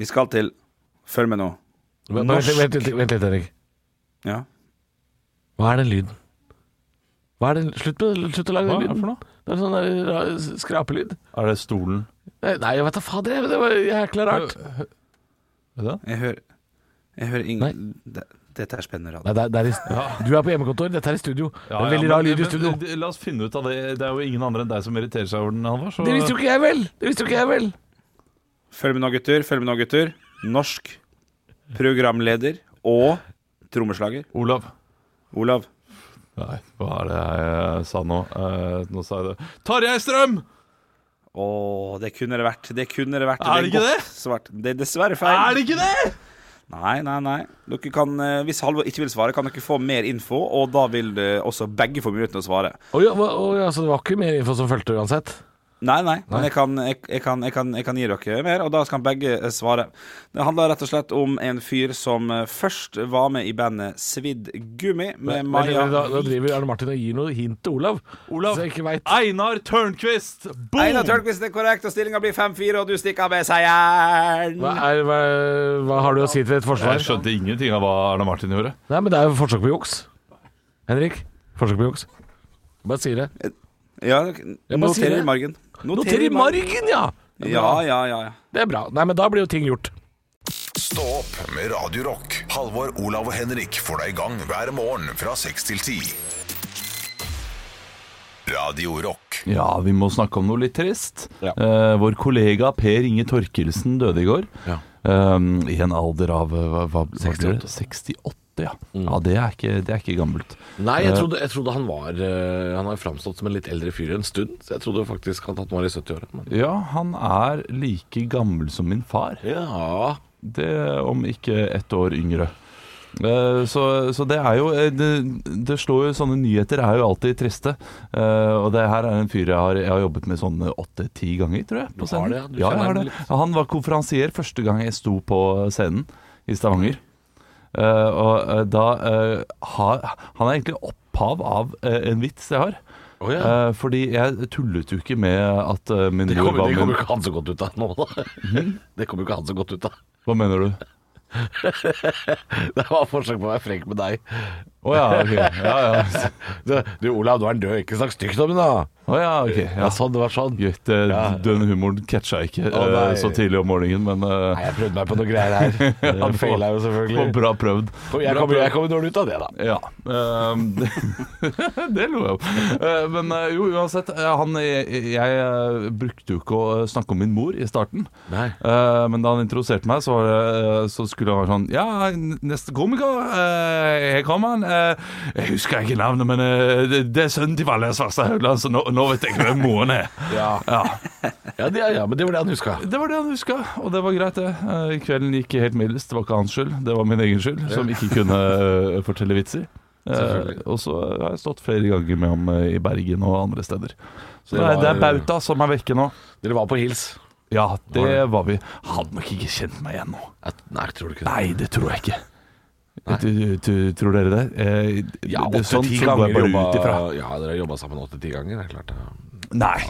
[SPEAKER 5] Vi skal til Følg med nå.
[SPEAKER 4] Vent
[SPEAKER 3] Norsk.
[SPEAKER 4] litt, vent litt, vent litt Erik
[SPEAKER 5] Ja.
[SPEAKER 4] Hva er den lyden? Hva er den? Slutt, med, slutt å lage
[SPEAKER 3] Hva
[SPEAKER 4] den
[SPEAKER 3] er det
[SPEAKER 4] lyden.
[SPEAKER 3] for noe?
[SPEAKER 4] Det er sånn der rar s- skrapelyd.
[SPEAKER 3] Er det stolen?
[SPEAKER 4] Nei, nei, jeg vet da fader. jeg- Det var jækla rart.
[SPEAKER 3] Er det?
[SPEAKER 5] Jeg hører Jeg hører ingen det, Dette er spennende radio.
[SPEAKER 4] Nei, det er, det er i, Du er på hjemmekontor, dette er i studio. det
[SPEAKER 3] Ja,
[SPEAKER 4] er
[SPEAKER 3] ja,
[SPEAKER 4] veldig
[SPEAKER 3] men-
[SPEAKER 4] rar lyd i
[SPEAKER 3] men-
[SPEAKER 4] studio.
[SPEAKER 3] d- La oss finne ut av det. Det er jo ingen andre enn deg som irriterer seg over den, Halvor. så-
[SPEAKER 4] Det visste jo ikke jeg vel! Det visste jo ikke jeg vel!
[SPEAKER 5] Følg med nå, gutter. Følg med nå, gutter. Norsk programleder og trommeslager.
[SPEAKER 3] Olav.
[SPEAKER 5] Olav.
[SPEAKER 3] Nei, hva er det jeg sa nå? Eh, nå sa jeg det. Tarjei Strøm!
[SPEAKER 5] Å, det kunne det vært. Det kunne det vært.
[SPEAKER 3] Er det ikke
[SPEAKER 5] godt
[SPEAKER 3] det?
[SPEAKER 5] Svart. Det er dessverre feil.
[SPEAKER 3] Er det ikke det?!
[SPEAKER 5] Nei, nei, nei. Dere kan, eh, hvis Halvor ikke vil svare, kan dere få mer info, og da vil det også begge få muligheten til å svare.
[SPEAKER 4] Å ja, hva- å ja, så det var ikke mer info som fulgte uansett?
[SPEAKER 5] Nei, nei, men jeg kan, jeg, jeg, kan, jeg, kan, jeg kan gi dere mer, og da skal begge eh, svare. Det handler rett og slett om en fyr som eh, først var med i bandet Svidd Gummi med
[SPEAKER 4] Men,
[SPEAKER 5] Eh, Maja
[SPEAKER 4] da, da driver Arne Martin og gir noe hint til Olav.
[SPEAKER 3] Olav.
[SPEAKER 4] Så jeg ikke veit.
[SPEAKER 3] Einar Tørnquist! Boom!
[SPEAKER 5] Einar Tørnquist er korrekt, og stillinga blir 5-4, og du stikker av med seieren.
[SPEAKER 4] Hva, er- hva, hva har du å si til et forsvar?
[SPEAKER 3] Jeg skjønte ingenting av hva Arne Martin gjorde.
[SPEAKER 4] Nei, men det er jo forsøk på juks. Henrik, forsøk på juks. Bare sier det.
[SPEAKER 5] Ja,
[SPEAKER 4] Jeg må si
[SPEAKER 5] noterer
[SPEAKER 4] det.
[SPEAKER 5] i margen.
[SPEAKER 4] Noter i margen, ja!
[SPEAKER 5] Ja, ja, ja. ja.
[SPEAKER 4] Det er bra. Nei, men da blir jo ting gjort.
[SPEAKER 1] Stå opp med Radio Rock. Halvor, Olav og Henrik får deg i gang hver morgen fra 6 til 10. Radio Rock.
[SPEAKER 3] Ja, vi må snakke om noe litt trist. Eh, vår kollega Per Inge Torkelsen døde i går.
[SPEAKER 4] Ja.
[SPEAKER 3] Eh, I en alder av eh, hva, hva, hva blir det? 68, ja. Ja, det er ikke, det er ikke gammelt.
[SPEAKER 4] Nei, jeg trodde, jeg trodde han var eh, Han har framstått som en litt eldre fyr en stund. Så jeg trodde faktisk at han var i 70-åra. men-
[SPEAKER 3] Ja, han er like gammel som min far.
[SPEAKER 4] Ja.
[SPEAKER 3] Det om ikke ett år yngre. Eh, Så, så det er jo eh, det, det slår jo Sånne nyheter er jo alltid triste. Eh, og det her er en fyr jeg har, jeg har jobbet med sånn åtte-ti ganger, tror jeg. På
[SPEAKER 4] Du har
[SPEAKER 3] scenen.
[SPEAKER 4] det, ja. Du
[SPEAKER 3] ja,
[SPEAKER 4] kjenner
[SPEAKER 3] jeg har
[SPEAKER 4] ham
[SPEAKER 3] det.
[SPEAKER 4] litt.
[SPEAKER 3] Ja, han var konferansier første gang jeg sto på scenen i Stavanger. Eh, og eh, da eh, har Han er egentlig opphav av eh, en vits jeg har.
[SPEAKER 4] Å, ja.
[SPEAKER 3] Eh, fordi jeg tullet jo ikke med at eh, min
[SPEAKER 4] Det
[SPEAKER 3] mor
[SPEAKER 4] kommer,
[SPEAKER 3] var
[SPEAKER 4] det
[SPEAKER 3] min-
[SPEAKER 4] kommer jo ikke han så godt ut av nå, da. Det kommer jo ikke han så godt ut av.
[SPEAKER 3] Hva mener du?
[SPEAKER 4] Det var forsøk på å være frekk med deg.
[SPEAKER 3] Å ja, ok. Ja, ja.
[SPEAKER 4] Du, du Olav, nå er han død. Ikke snakk stygt om ham, da.
[SPEAKER 3] Å ja, ok.
[SPEAKER 4] Ja,
[SPEAKER 3] Ja.
[SPEAKER 4] sånn, det var sånn.
[SPEAKER 3] Greit, eh,
[SPEAKER 4] Ja.
[SPEAKER 3] den humoren catcha jeg ikke eh,
[SPEAKER 4] nei.
[SPEAKER 3] så tidlig om morgenen, men eh,
[SPEAKER 4] Nei, jeg prøvde meg på noe greier her.
[SPEAKER 3] Ja,
[SPEAKER 4] Jeg
[SPEAKER 3] det
[SPEAKER 4] feila jo
[SPEAKER 3] var
[SPEAKER 4] selvfølgelig.
[SPEAKER 3] bra prøvd.
[SPEAKER 4] Jeg
[SPEAKER 3] Bra
[SPEAKER 4] kommer,
[SPEAKER 3] prøvd.
[SPEAKER 4] jeg kommer dårlig ut av det, da.
[SPEAKER 3] Ja. ehm, det- det lo jeg av. Eh, men eh, jo, uansett. eh, Han, jeg, jeg eh, brukte jo ikke å snakke om min mor i starten.
[SPEAKER 4] Nei.
[SPEAKER 3] Eh, men da han introduserte meg, så, var det, eh, så skulle han være sånn Ja, n- neste komiker. eh, her kommer han. eh, jeg husker ikke navnet, men eh, det, det er sønnen til Valle Svarstad Haugland, så nå, nå vet jeg hvem moren er.
[SPEAKER 4] Ja.
[SPEAKER 3] Ja.
[SPEAKER 4] Ja, det, ja, men det var det han huska.
[SPEAKER 3] Det var det han huska, og det var greit, det. Eh, Kvelden gikk helt middels. Det var ikke hans skyld, det var min egen skyld, som ikke kunne eh, fortelle vitser. Eh, og så har jeg stått flere ganger med ham eh, i Bergen og andre steder. Så
[SPEAKER 4] Det
[SPEAKER 3] det, er-
[SPEAKER 4] var-
[SPEAKER 3] det er bauta som er vekke nå.
[SPEAKER 4] Dere var på hils.
[SPEAKER 3] Ja, det
[SPEAKER 4] Var
[SPEAKER 3] var vi. Hadde nok ikke kjent meg igjen nå.
[SPEAKER 4] Jeg, nei, jeg tror du ikke det.
[SPEAKER 3] Nei, det tror jeg ikke. Du, du, tror dere det? Eh,
[SPEAKER 4] Ja,
[SPEAKER 3] det er sånn
[SPEAKER 4] åtte-ti
[SPEAKER 3] så går jeg
[SPEAKER 4] ganger
[SPEAKER 3] bare
[SPEAKER 4] jobba
[SPEAKER 3] ut ifra.
[SPEAKER 4] Ja, dere har jobba sammen åtte-ti ganger. Det er klart. ja.
[SPEAKER 3] Nei.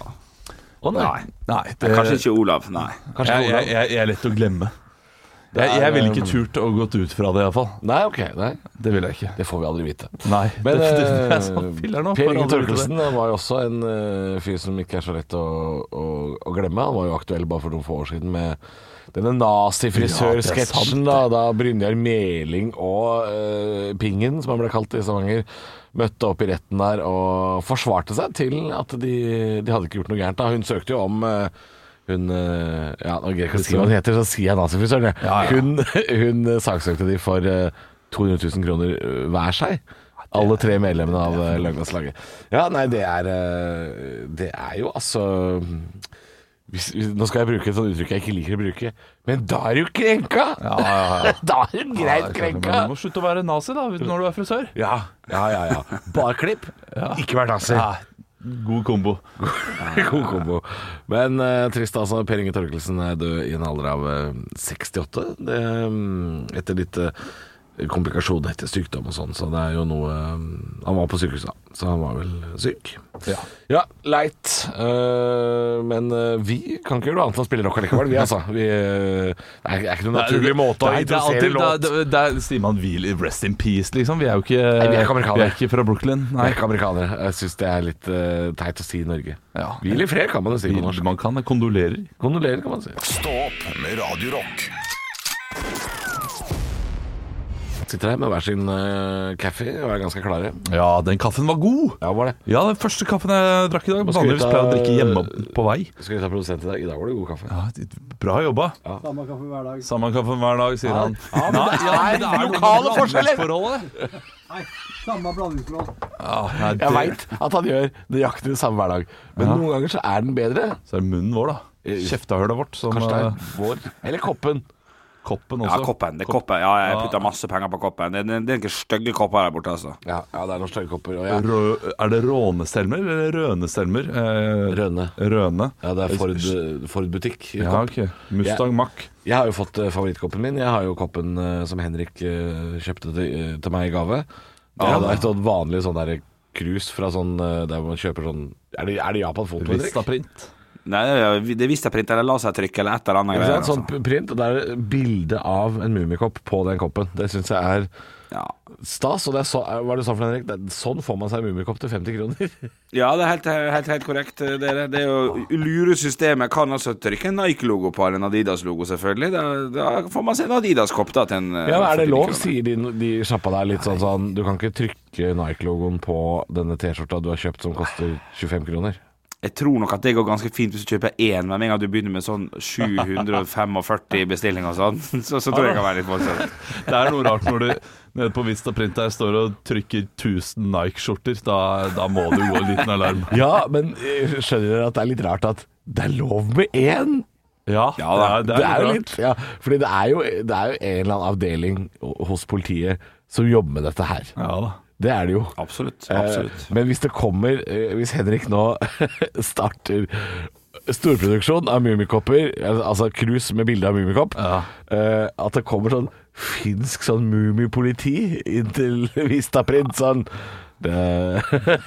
[SPEAKER 4] Å nei.
[SPEAKER 3] Nei, det,
[SPEAKER 4] Eh,
[SPEAKER 5] Kanskje ikke Olav, nei.
[SPEAKER 4] Kanskje
[SPEAKER 3] jeg, jeg,
[SPEAKER 4] Olav.
[SPEAKER 3] jeg, jeg er lett å glemme.
[SPEAKER 4] Det
[SPEAKER 3] Jeg,
[SPEAKER 4] er,
[SPEAKER 3] jeg ville
[SPEAKER 4] eh,
[SPEAKER 3] ikke turt å gått ut fra det, iallfall.
[SPEAKER 4] Nei, ok. Nei,
[SPEAKER 3] Det ville jeg ikke.
[SPEAKER 4] det får vi aldri vite.
[SPEAKER 3] Nei,
[SPEAKER 4] Men
[SPEAKER 3] det, det, det
[SPEAKER 4] eh,
[SPEAKER 3] er sånn filler nå.
[SPEAKER 4] Per
[SPEAKER 3] for
[SPEAKER 4] Inge
[SPEAKER 3] alle vet
[SPEAKER 4] Torkelsen
[SPEAKER 3] det.
[SPEAKER 4] han var jo også en eh, fyr som ikke er så lett å, å, å glemme. Han var jo aktuell bare for noen få år siden med denne nazifrisørsketsjen.
[SPEAKER 3] Ja, det er sant,
[SPEAKER 4] da, da Brynjar Meling og eh, Pingen, som han ble kalt i Stavanger, møtte opp i retten der og forsvarte seg til at de, de hadde ikke gjort noe gærent. Da. Hun søkte jo om eh, hun eh, Ja, nå greier jeg ikke å si hva hun heter, så sier jeg nazifrisøren, jeg. Hun, hun eh, saksøkte de for eh, 200 000 kroner eh, hver seg. Alle tre medlemmene av eh, Løgnlandslaget. Ja, nei, det er eh, Det er jo altså hvis, hvis, Nå skal jeg bruke et sånt uttrykk jeg ikke liker å bruke, men da er du krenka! da er du greit krenka!
[SPEAKER 3] Men Du må slutte å være nazi da når du er frisør.
[SPEAKER 4] Ja, ja, ja. ja. Barklipp, ikke vær nazi.
[SPEAKER 3] God kombo.
[SPEAKER 4] God kombo. Men eh, trist, altså. Per Inge Torkelsen er død i en alder av eh, 68. Det, mm, etter litt eh, komplikasjoner etter sykdom og sånn, så det er jo noe eh, Han var på sykehuset, da, så han var vel syk. Ja, leit. Eh, men eh, vi kan ikke gjøre noe annet enn å spille rock allikevel, vi, altså. Vi, eh, det er- det er ikke noen naturlig måte å
[SPEAKER 3] Nei, det er
[SPEAKER 4] introdusere
[SPEAKER 3] alltid-
[SPEAKER 4] låt
[SPEAKER 3] det er- det er- sier man hvil i rest in peace, liksom. Vi er jo ikke,
[SPEAKER 4] vi er ikke amerikanere.
[SPEAKER 3] vi er ikke fra Brooklyn.
[SPEAKER 4] Vi
[SPEAKER 3] Nei.
[SPEAKER 4] er ikke amerikanere. Jeg syns det er litt eh, teit å si i Norge.
[SPEAKER 3] Ja.
[SPEAKER 4] Hvil i fred, kan man jo si på
[SPEAKER 3] Vi-
[SPEAKER 4] norsk.
[SPEAKER 3] Man kan kondolerer.
[SPEAKER 4] Kondolerer, kan man si.
[SPEAKER 1] Stå opp med Radio Rock.
[SPEAKER 4] Sitter her med hver sin eh, kaffe og er ganske klare.
[SPEAKER 3] Ja, den kaffen var god!
[SPEAKER 4] Ja, var det.
[SPEAKER 3] Ja, den første kaffen jeg drakk i dag.
[SPEAKER 4] skal vi
[SPEAKER 3] Vanligvis
[SPEAKER 4] ta-
[SPEAKER 3] pleier jeg å drikke hjemme på vei.
[SPEAKER 4] Skal vi ta produsent i dag? I dag var det god kaffe.
[SPEAKER 3] Ja, bra jobba.
[SPEAKER 7] Samme kaffe hver dag.
[SPEAKER 3] Samme kaffen hver dag, sier han. Ja, men det er,
[SPEAKER 4] lokale forskjeller.
[SPEAKER 7] Nei, samme blandingsforhold.
[SPEAKER 3] Ja, nei,
[SPEAKER 4] Jeg
[SPEAKER 3] det,
[SPEAKER 4] veit at han gjør nøyaktig det samme hver dag, men noen ganger så er den bedre.
[SPEAKER 3] så er det munnen vår, da. Kjeftehølet vårt. Som,
[SPEAKER 4] Eh, Kanskje det
[SPEAKER 3] eh,
[SPEAKER 4] er vår. Eller koppen.
[SPEAKER 3] Koppen også.
[SPEAKER 5] Ja,
[SPEAKER 4] Altså,
[SPEAKER 5] koppen. Det er koppen. Ja, jeg putta masse penger på koppen. Det, det, det er ikke stygge kopper der borte, altså.
[SPEAKER 4] Ja, ja det er noen stygge kopper. Og jeg,
[SPEAKER 3] Rø er det rånestelmer eller rønestelmer? Eh,
[SPEAKER 4] Røne.
[SPEAKER 3] Røne.
[SPEAKER 4] ja, det er Ford, eh, Ford butikk.
[SPEAKER 3] Ja, ok. Mustang Mack.
[SPEAKER 4] Jeg har jo fått eh, favorittkoppen min. Jeg har jo koppen eh, som Henrik eh, kjøpte til, eh, til meg i gave. Det er et sånt vanlig sånn der krus fra sånn eh, der man kjøper sånn Er det, er det Japan Foto, Henrik?
[SPEAKER 3] Vistaprint.
[SPEAKER 5] Nei, det er Vistaprint eller lasertrykk eller et eller annet.
[SPEAKER 4] Ikke
[SPEAKER 5] greier,
[SPEAKER 4] sant? Sånn
[SPEAKER 5] altså.
[SPEAKER 4] p- print, og det er bilde av en mummikopp på den koppen. Det syns jeg er
[SPEAKER 5] altså. Ja.
[SPEAKER 4] stas. Og det er så, hva er det du sa for noe, Henrik? Det, er- sånn får man seg en mummikopp til 50 kroner.
[SPEAKER 5] ja, det er helt, helt, helt korrekt, eh, dere. Det er jo lure systemet. Kan altså trykke en Nike-logo på eller en Adidas-logo, selvfølgelig. Da, da får man se en Adidas-kopp, da. Til en,
[SPEAKER 4] Ja, men Er det
[SPEAKER 5] 49
[SPEAKER 4] lov,
[SPEAKER 5] kroner.
[SPEAKER 4] sier de, de sjappa der litt sånn sånn Du kan ikke trykke Nike-logoen på denne T-skjorta du har kjøpt som koster 25 kroner.
[SPEAKER 5] Jeg tror nok at det går ganske fint hvis du kjøper én, men med en gang du begynner med sånn 745 bestillinger og sånn, så, så tror jeg det kan være litt voldsomt.
[SPEAKER 3] Det er noe rart når du nede på Vistaprint der står og trykker 1000 Nike-skjorter. Da, da må du gå en liten alarm.
[SPEAKER 4] Ja, men eh, skjønner dere at det er litt rart at det er lov med én?
[SPEAKER 3] Ja,
[SPEAKER 5] Ja da,
[SPEAKER 3] det er,
[SPEAKER 4] Det er jo
[SPEAKER 3] rart.
[SPEAKER 4] litt ja, Fordi det er jo, det er jo en eller annen avdeling hos politiet som jobber med dette her.
[SPEAKER 3] Ja da.
[SPEAKER 4] Det er det jo.
[SPEAKER 5] Absolutt.
[SPEAKER 4] Eh,
[SPEAKER 5] absolutt.
[SPEAKER 4] Men hvis det kommer eh, Hvis Henrik nå starter storproduksjon av Mummikopper, al- altså krus med bilde av Mummikopp, eh, at det kommer sånn finsk sånn Mummipoliti inn til Vistaprint, sånn det,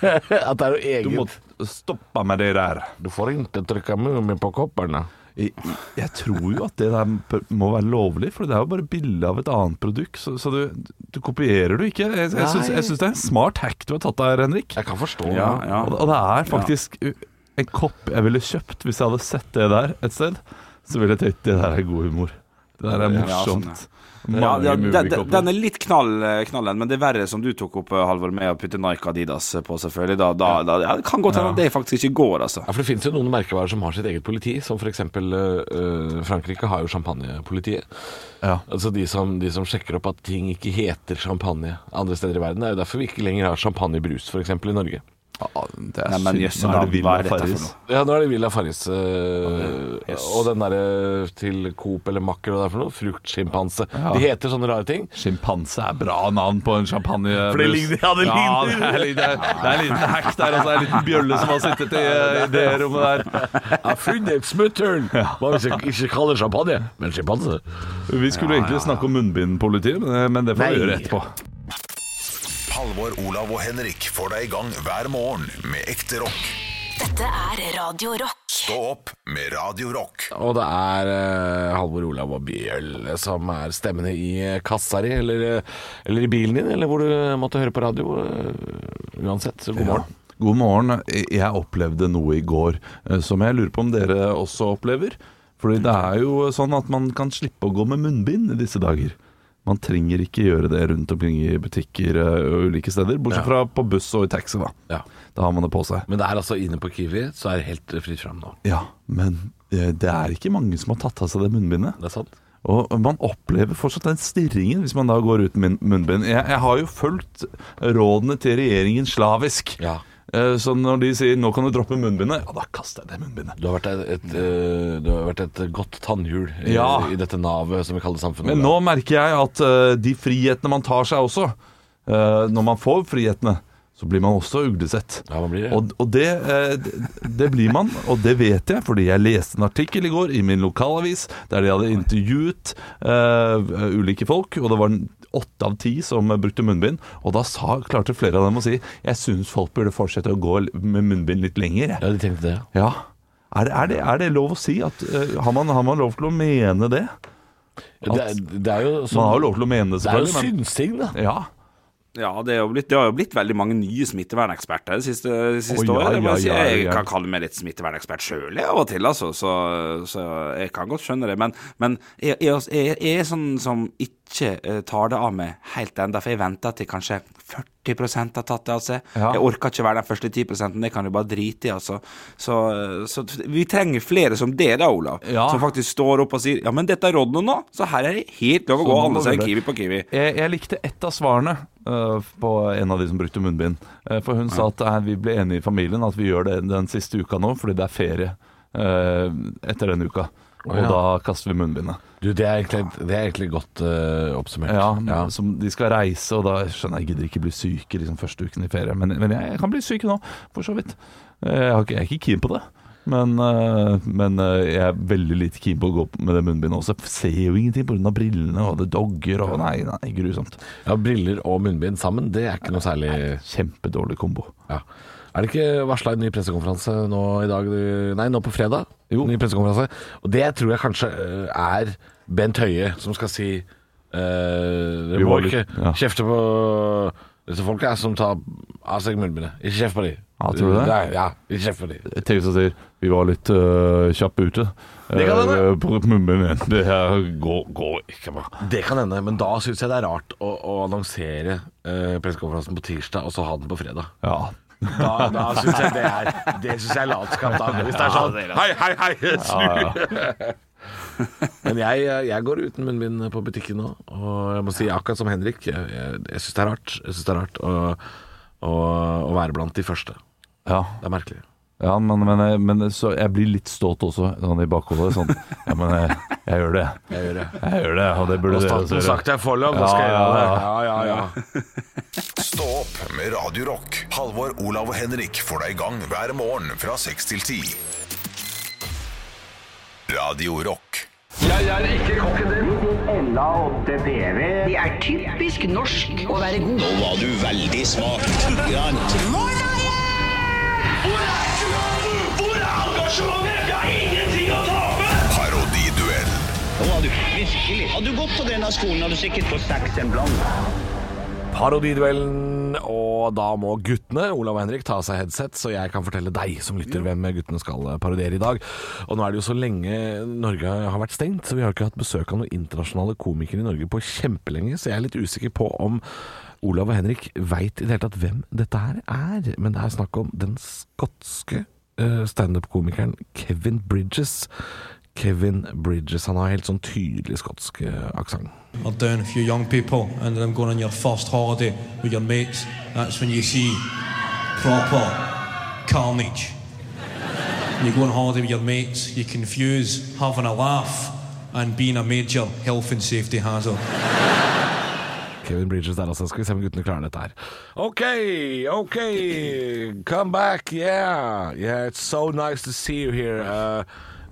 [SPEAKER 4] At det er noe
[SPEAKER 3] Du må
[SPEAKER 4] eget du,
[SPEAKER 3] stoppe med det der.
[SPEAKER 4] får ikke trykke Mummi på kopperne.
[SPEAKER 3] Jeg, jeg tror jo at det der p- må være lovlig, for det er jo bare bilde av et annet produkt. Så, så du, du kopierer du ikke. Jeg, jeg, syns,
[SPEAKER 4] Nei.
[SPEAKER 3] jeg syns det er en smart hack du har tatt der, Henrik.
[SPEAKER 4] Jeg kan forstå
[SPEAKER 5] Ja,
[SPEAKER 4] det.
[SPEAKER 5] ja.
[SPEAKER 3] Og, og det er faktisk u- en kopp jeg ville kjøpt hvis jeg hadde sett det der et sted. Så ville jeg tenkt det der er god humor. Det der er
[SPEAKER 5] Ja, sånn,
[SPEAKER 3] morsomt.
[SPEAKER 5] Ja,
[SPEAKER 3] Mange
[SPEAKER 5] ja, den, den-
[SPEAKER 3] mummikopper.
[SPEAKER 5] den er litt knall, eh, knallen, men det verre som du tok opp, eh, Halvor, med å putte Nike og Adidas eh, på, selvfølgelig, da, da, da ja, Det kan godt hende at det faktisk ikke går, altså.
[SPEAKER 4] Ja, for Det finnes jo noen merkevarer som har sitt eget politi, som f.eks. Uh, Frankrike har jo champagnepolitiet.
[SPEAKER 3] Ja.
[SPEAKER 4] Altså de som, de som sjekker opp at ting ikke heter champagne andre steder i verden. Det er jo derfor vi ikke lenger har champagnebrus f.eks. i Norge.
[SPEAKER 3] Ja, det er
[SPEAKER 5] Nei, men
[SPEAKER 3] synd.
[SPEAKER 5] jøsse
[SPEAKER 3] Nå er
[SPEAKER 5] navn,
[SPEAKER 3] det Villa
[SPEAKER 5] hva er dette for
[SPEAKER 3] Farris.
[SPEAKER 4] Ja, nå er det Villa Farris. eh, Og den derre eh, til Coop eller Macker og det er for noe. Fruktsjimpanse.
[SPEAKER 3] Ja.
[SPEAKER 4] De heter sånne rare ting.
[SPEAKER 3] Sjimpanse er bra navn på en champagne.
[SPEAKER 4] For det ligner- ja, det ligner.
[SPEAKER 3] det, er, litt- det er- det er en liten hack der, altså. Det er En liten bjølle som har sittet i, i det rommet der.
[SPEAKER 4] Jeg har funnet smutthull! Hva hvis jeg ikke kaller champagne, men sjimpanse?
[SPEAKER 3] Vi skulle egentlig snakke om munnbindpolitiet, men, men det får vi
[SPEAKER 4] Nei.
[SPEAKER 3] gjøre etterpå.
[SPEAKER 1] Halvor, Olav og Henrik får deg i gang hver morgen med ekte rock.
[SPEAKER 2] Dette er Radio Rock.
[SPEAKER 1] Stå opp med Radio Rock.
[SPEAKER 4] Og det er eh, Halvor Olav og Bjølle som er stemmene i eh, kassa di, eller, eh, eller i bilen din, eller hvor du måtte høre på radio. eh, uansett, så god morgen.
[SPEAKER 3] God morgen. Jeg opplevde noe i går eh, som jeg lurer på om dere også opplever. Fordi det er jo sånn at man kan slippe å gå med munnbind i disse dager. Man trenger ikke gjøre det rundt omkring i butikker eh, og ulike steder, bortsett fra på buss og i taxi, da.
[SPEAKER 4] Ja.
[SPEAKER 3] Da har man det på seg.
[SPEAKER 4] Men det er altså inne på Kiwi, så er det helt eh, fritt fram nå.
[SPEAKER 3] Ja, men eh, det er ikke mange som har tatt av seg det munnbindet.
[SPEAKER 4] Det er sant?
[SPEAKER 3] Og man opplever fortsatt den stirringen hvis man da går uten min- munnbind. Jeg, jeg har jo fulgt rådene til regjeringen slavisk.
[SPEAKER 4] Ja.
[SPEAKER 3] Eh, Så når de sier 'nå kan du droppe munnbindet', ja, da kaster jeg det munnbindet.
[SPEAKER 4] Du har vært et, et, eh, du har vært et godt tannhjul i,
[SPEAKER 3] Ja.
[SPEAKER 4] i dette navet som vi kaller samfunnet.
[SPEAKER 3] Men nå merker jeg at eh, de frihetene man tar seg også eh, Når man får frihetene, så blir man også uglesett.
[SPEAKER 4] Ja, man blir det.
[SPEAKER 3] Og, og det, eh, det- det blir man, og det vet jeg, fordi jeg leste en artikkel i går i min lokalavis der de hadde intervjuet eh, ulike folk, og det var en- åtte av ti som brukte munnbind. Og da sa, klarte flere av dem å si jeg syns folk burde fortsette å gå med munnbind litt lenger. jeg».
[SPEAKER 4] Ja, de tenkte det. ja.
[SPEAKER 3] Ja. Er det, er, det, er det lov å si? At, eh, har, man, har man lov til å mene det?
[SPEAKER 4] Det, er- det er jo sånn,
[SPEAKER 3] Man har jo lov til å mene det,
[SPEAKER 4] Det er jo
[SPEAKER 3] selvfølgelig. men-
[SPEAKER 4] synsing, da.
[SPEAKER 3] Ja.
[SPEAKER 5] Ja, det, er jo blitt, det har jo blitt veldig mange nye smitteverneksperter det siste, det
[SPEAKER 3] Å,
[SPEAKER 5] siste
[SPEAKER 3] ja,
[SPEAKER 5] året. Jeg, må
[SPEAKER 3] ja,
[SPEAKER 5] si,
[SPEAKER 3] ja,
[SPEAKER 5] jeg
[SPEAKER 3] ja.
[SPEAKER 5] kan kalle meg litt smittevernekspert sjøl av og til, altså, så, så jeg kan godt skjønne det. Men, men jeg, jeg, jeg, jeg er sånn som ikke eh, tar det av meg helt ennå, for jeg venter til kanskje 40 har tatt det av seg.
[SPEAKER 3] Ja.
[SPEAKER 5] Jeg orker ikke være den første 10 det kan du bare drite i, altså. Så, så vi trenger flere som det, da, Olav.
[SPEAKER 3] Ja.
[SPEAKER 5] Som faktisk står opp og sier ja, men dette er rådene nå, så her er det helt lov å
[SPEAKER 3] Så
[SPEAKER 5] gå
[SPEAKER 3] nå
[SPEAKER 5] og
[SPEAKER 3] må
[SPEAKER 5] handle
[SPEAKER 3] vi
[SPEAKER 5] seg en
[SPEAKER 3] det.
[SPEAKER 5] Kiwi på Kiwi.
[SPEAKER 3] Jeg, jeg likte ett av svarene øh, på en av de som brukte munnbind. Eh, for hun sa at eh, vi ble enige i familien at vi gjør det den siste uka nå fordi det er ferie eh, etter den uka. Og
[SPEAKER 4] ja.
[SPEAKER 3] da kaster vi munnbindet.
[SPEAKER 4] Du, det er egentlig, det er egentlig godt eh, oppsummert.
[SPEAKER 3] Ja,
[SPEAKER 4] Ja.
[SPEAKER 3] Som de skal reise, og da skjønner jeg jeg gidder ikke bli syke liksom, første uken i ferie. Men, men jeg, jeg kan bli syk nå, for så vidt. Eh, Jeg, har ikke, jeg er ikke keen på det. Men, eh, men eh, jeg er veldig lite keen på å gå opp med det munnbindet også. Jeg Ser jo ingenting pga. brillene og det dogger og Nei, nei, grusomt.
[SPEAKER 4] ja, Briller og munnbind sammen, det er ikke noe særlig
[SPEAKER 3] Kjempedårlig kombo.
[SPEAKER 4] Ja. Er det ikke varsla en ny pressekonferanse nå i dag? du- Nei, nå på fredag.
[SPEAKER 3] Jo.
[SPEAKER 4] Ny pressekonferanse. Og det tror jeg kanskje eh, er Bent Høie som skal si eh, Dere
[SPEAKER 3] Vi
[SPEAKER 4] må
[SPEAKER 3] var litt-
[SPEAKER 4] ikke
[SPEAKER 3] ja.
[SPEAKER 4] kjefte på disse folka som tar av seg munnbindet. Ikke kjeft på de.
[SPEAKER 3] Ja, tror du det?
[SPEAKER 4] Nei, ja, ikke kjeft på de.
[SPEAKER 3] TV som sier Vi var litt øh, kjappe ute.
[SPEAKER 4] Det kan hende.
[SPEAKER 3] Eh, på munnbind. Det her går, går ikke bra.
[SPEAKER 4] Det kan hende, men da syns jeg det er rart å, å annonsere eh, pressekonferansen på tirsdag og så ha den på fredag.
[SPEAKER 3] Ja.
[SPEAKER 4] Da, da syns jeg det er Det synes jeg er latskap, da. Hvis det er sånn Hei, hei, hei, snu! Men jeg, jeg går uten munnbind på butikken nå, og jeg må si akkurat som Henrik, jeg, jeg, jeg syns det er rart. Jeg synes det er rart å, å, å være blant de første.
[SPEAKER 3] ja.
[SPEAKER 4] Det er merkelig.
[SPEAKER 3] Ja, men, men, jeg- men eh, så jeg blir litt stolt også, sånn i bakhodet. Sånn, ja, men jeg, jeg gjør det. Jeg gjør det, jeg gjør det og det burde
[SPEAKER 4] Og
[SPEAKER 3] dere også
[SPEAKER 4] staten
[SPEAKER 3] gjøre.
[SPEAKER 4] sagt jeg får lov, da skal jeg gjøre det.
[SPEAKER 3] Ja,
[SPEAKER 4] Ja, ja, ja.
[SPEAKER 8] Stå opp med Radio Rock. Halvor, Olav og Henrik får deg i gang hver morgen fra 6 til 10. Radio Rock. Parodiduell.
[SPEAKER 4] Parodiduellen, og da må guttene, Olav og Henrik, ta av seg headset, så jeg kan fortelle deg som lytter hvem guttene skal eh, parodiere i dag. Og nå er det jo så lenge Norge har vært stengt, så vi har ikke hatt besøk av noen internasjonale komikere i Norge på kjempelenge, så jeg er litt usikker på om Olav og Henrik veit i det hele tatt hvem dette her er, men det er snakk om den skotske eh, standup-komikeren Kevin Bridges. Kevin Bridges, han har helt sånn tydelig skotsk eh, aksent.
[SPEAKER 9] are down a few young people and then going on your first holiday with your mates, that's when you see proper carnage. You go on holiday with your mates, you confuse having a laugh and being a major health and safety hazard.
[SPEAKER 4] Kevin Bridges der altså. Skal vi se om guttene klarer dette her. OK, OK. Come back, yeah. Yeah, it's so nice to see you here. Uh,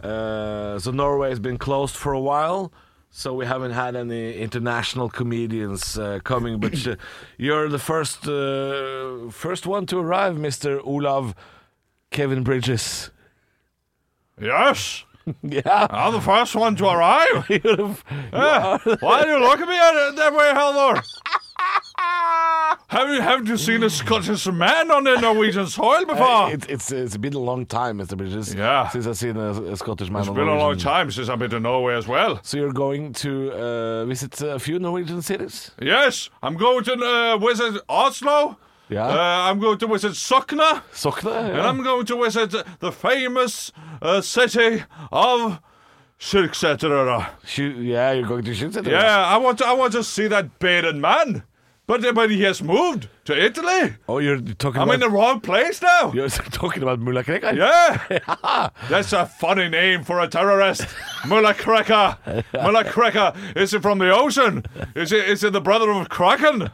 [SPEAKER 4] uh, so Norway has been closed for a while. So we haven't had any international comedians uh, coming, but uh, you're the first uh, first one to arrive, Mr. Olav Kevin Bridges.
[SPEAKER 6] Yes!
[SPEAKER 4] Yeah,
[SPEAKER 6] I'm the first one to arrive. Yeah. Why do you look at me that that way, Halvor? have you have you seen a Scottish man on the Norwegian soil before?
[SPEAKER 4] it's, it's it's been a long time, Mr. Bridges.
[SPEAKER 6] Yeah.
[SPEAKER 4] since I've seen a, a Scottish man.
[SPEAKER 6] it's
[SPEAKER 4] on
[SPEAKER 6] been a long
[SPEAKER 4] Norwegian.
[SPEAKER 6] time since I've been to Norway as well.
[SPEAKER 4] So you're going to uh, visit a few Norwegian cities?
[SPEAKER 6] Yes, I'm going to uh, visit Oslo.
[SPEAKER 4] Yeah.
[SPEAKER 6] Uh, I'm going to visit Sokna,
[SPEAKER 4] Sokna?
[SPEAKER 6] and I'm going to visit the famous uh, city of Kirksetra.
[SPEAKER 4] Shoot, yeah, you're going to shoot it?
[SPEAKER 6] Yeah, Uh, I want to, I want to see that bearded man, but but he has moved to Italy.
[SPEAKER 4] Oh, you're talking
[SPEAKER 6] I'm in
[SPEAKER 4] about...
[SPEAKER 6] the wrong place now.
[SPEAKER 4] You're talking about Mulla Krekar?
[SPEAKER 6] Yeah, that's a funny name for a terrorist. Mullah Cracker. Mullah Cracker. Is it from the ocean? Is it? Is it the brother of Kraken?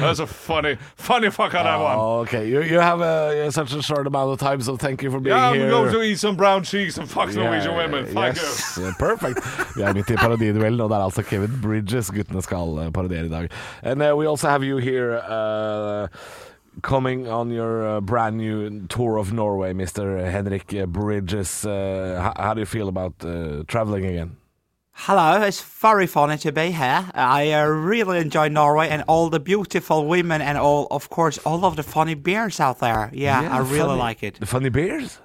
[SPEAKER 6] that's a funny, funny fucker that one.
[SPEAKER 4] Oh, okay. You, you have uh, you have such a short amount of time, so thank you for being
[SPEAKER 6] Yeah, I'm
[SPEAKER 4] here.
[SPEAKER 6] going to eat some brown cheese and fuck Norwegian women. Fuck you.
[SPEAKER 4] yes, perfect. Vi er midt i parodiduellen, og det er altså Kevin Bridges guttene skal eh, parodiere i dag. And uh, we also have you here uh, coming on your uh, brand new tour of Norway, Mr. Henrik eh, Bridges. Uh, how, how do you feel about uh, traveling again?
[SPEAKER 5] Hello, it's very funny to be here. I uh, really enjoy Norway and all the beautiful women and all, of course, all of the funny bears out there. Yeah, I really
[SPEAKER 4] funny-
[SPEAKER 5] like it.
[SPEAKER 4] The funny bears?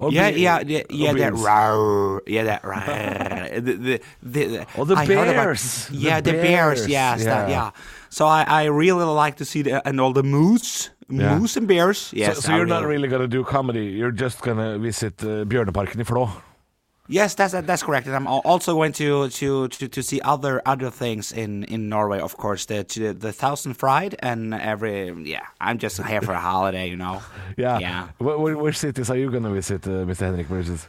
[SPEAKER 4] Or
[SPEAKER 5] Yeah,
[SPEAKER 4] be-
[SPEAKER 5] yeah, yeah, yeah,
[SPEAKER 4] or
[SPEAKER 5] that
[SPEAKER 4] beans?
[SPEAKER 5] roar, yeah, that roar. the, the, the, the,
[SPEAKER 4] Oh, the
[SPEAKER 5] I heard about-
[SPEAKER 4] bears, the
[SPEAKER 5] yeah, the, bears,
[SPEAKER 4] bears,
[SPEAKER 5] yes, that-
[SPEAKER 4] yeah.
[SPEAKER 5] yeah. So I, I really like to see the, and all the moose,
[SPEAKER 4] Yeah.
[SPEAKER 5] moose and bears.
[SPEAKER 4] So,
[SPEAKER 5] Yes,
[SPEAKER 4] so
[SPEAKER 5] I
[SPEAKER 4] you're not really gonna do comedy. You're just gonna visit uh, Bjørneparken i Flå.
[SPEAKER 5] Yes, that's that's correct. And I'm al- also going to to to, to see other other things in, in Norway, of course. The to the, the Thousand Fried and every yeah. I'm just here for a holiday, you know.
[SPEAKER 4] Yeah.
[SPEAKER 5] Yeah.
[SPEAKER 4] Wh- wh- which cities are you gonna visit, uh, Mr. Henrik Bridges?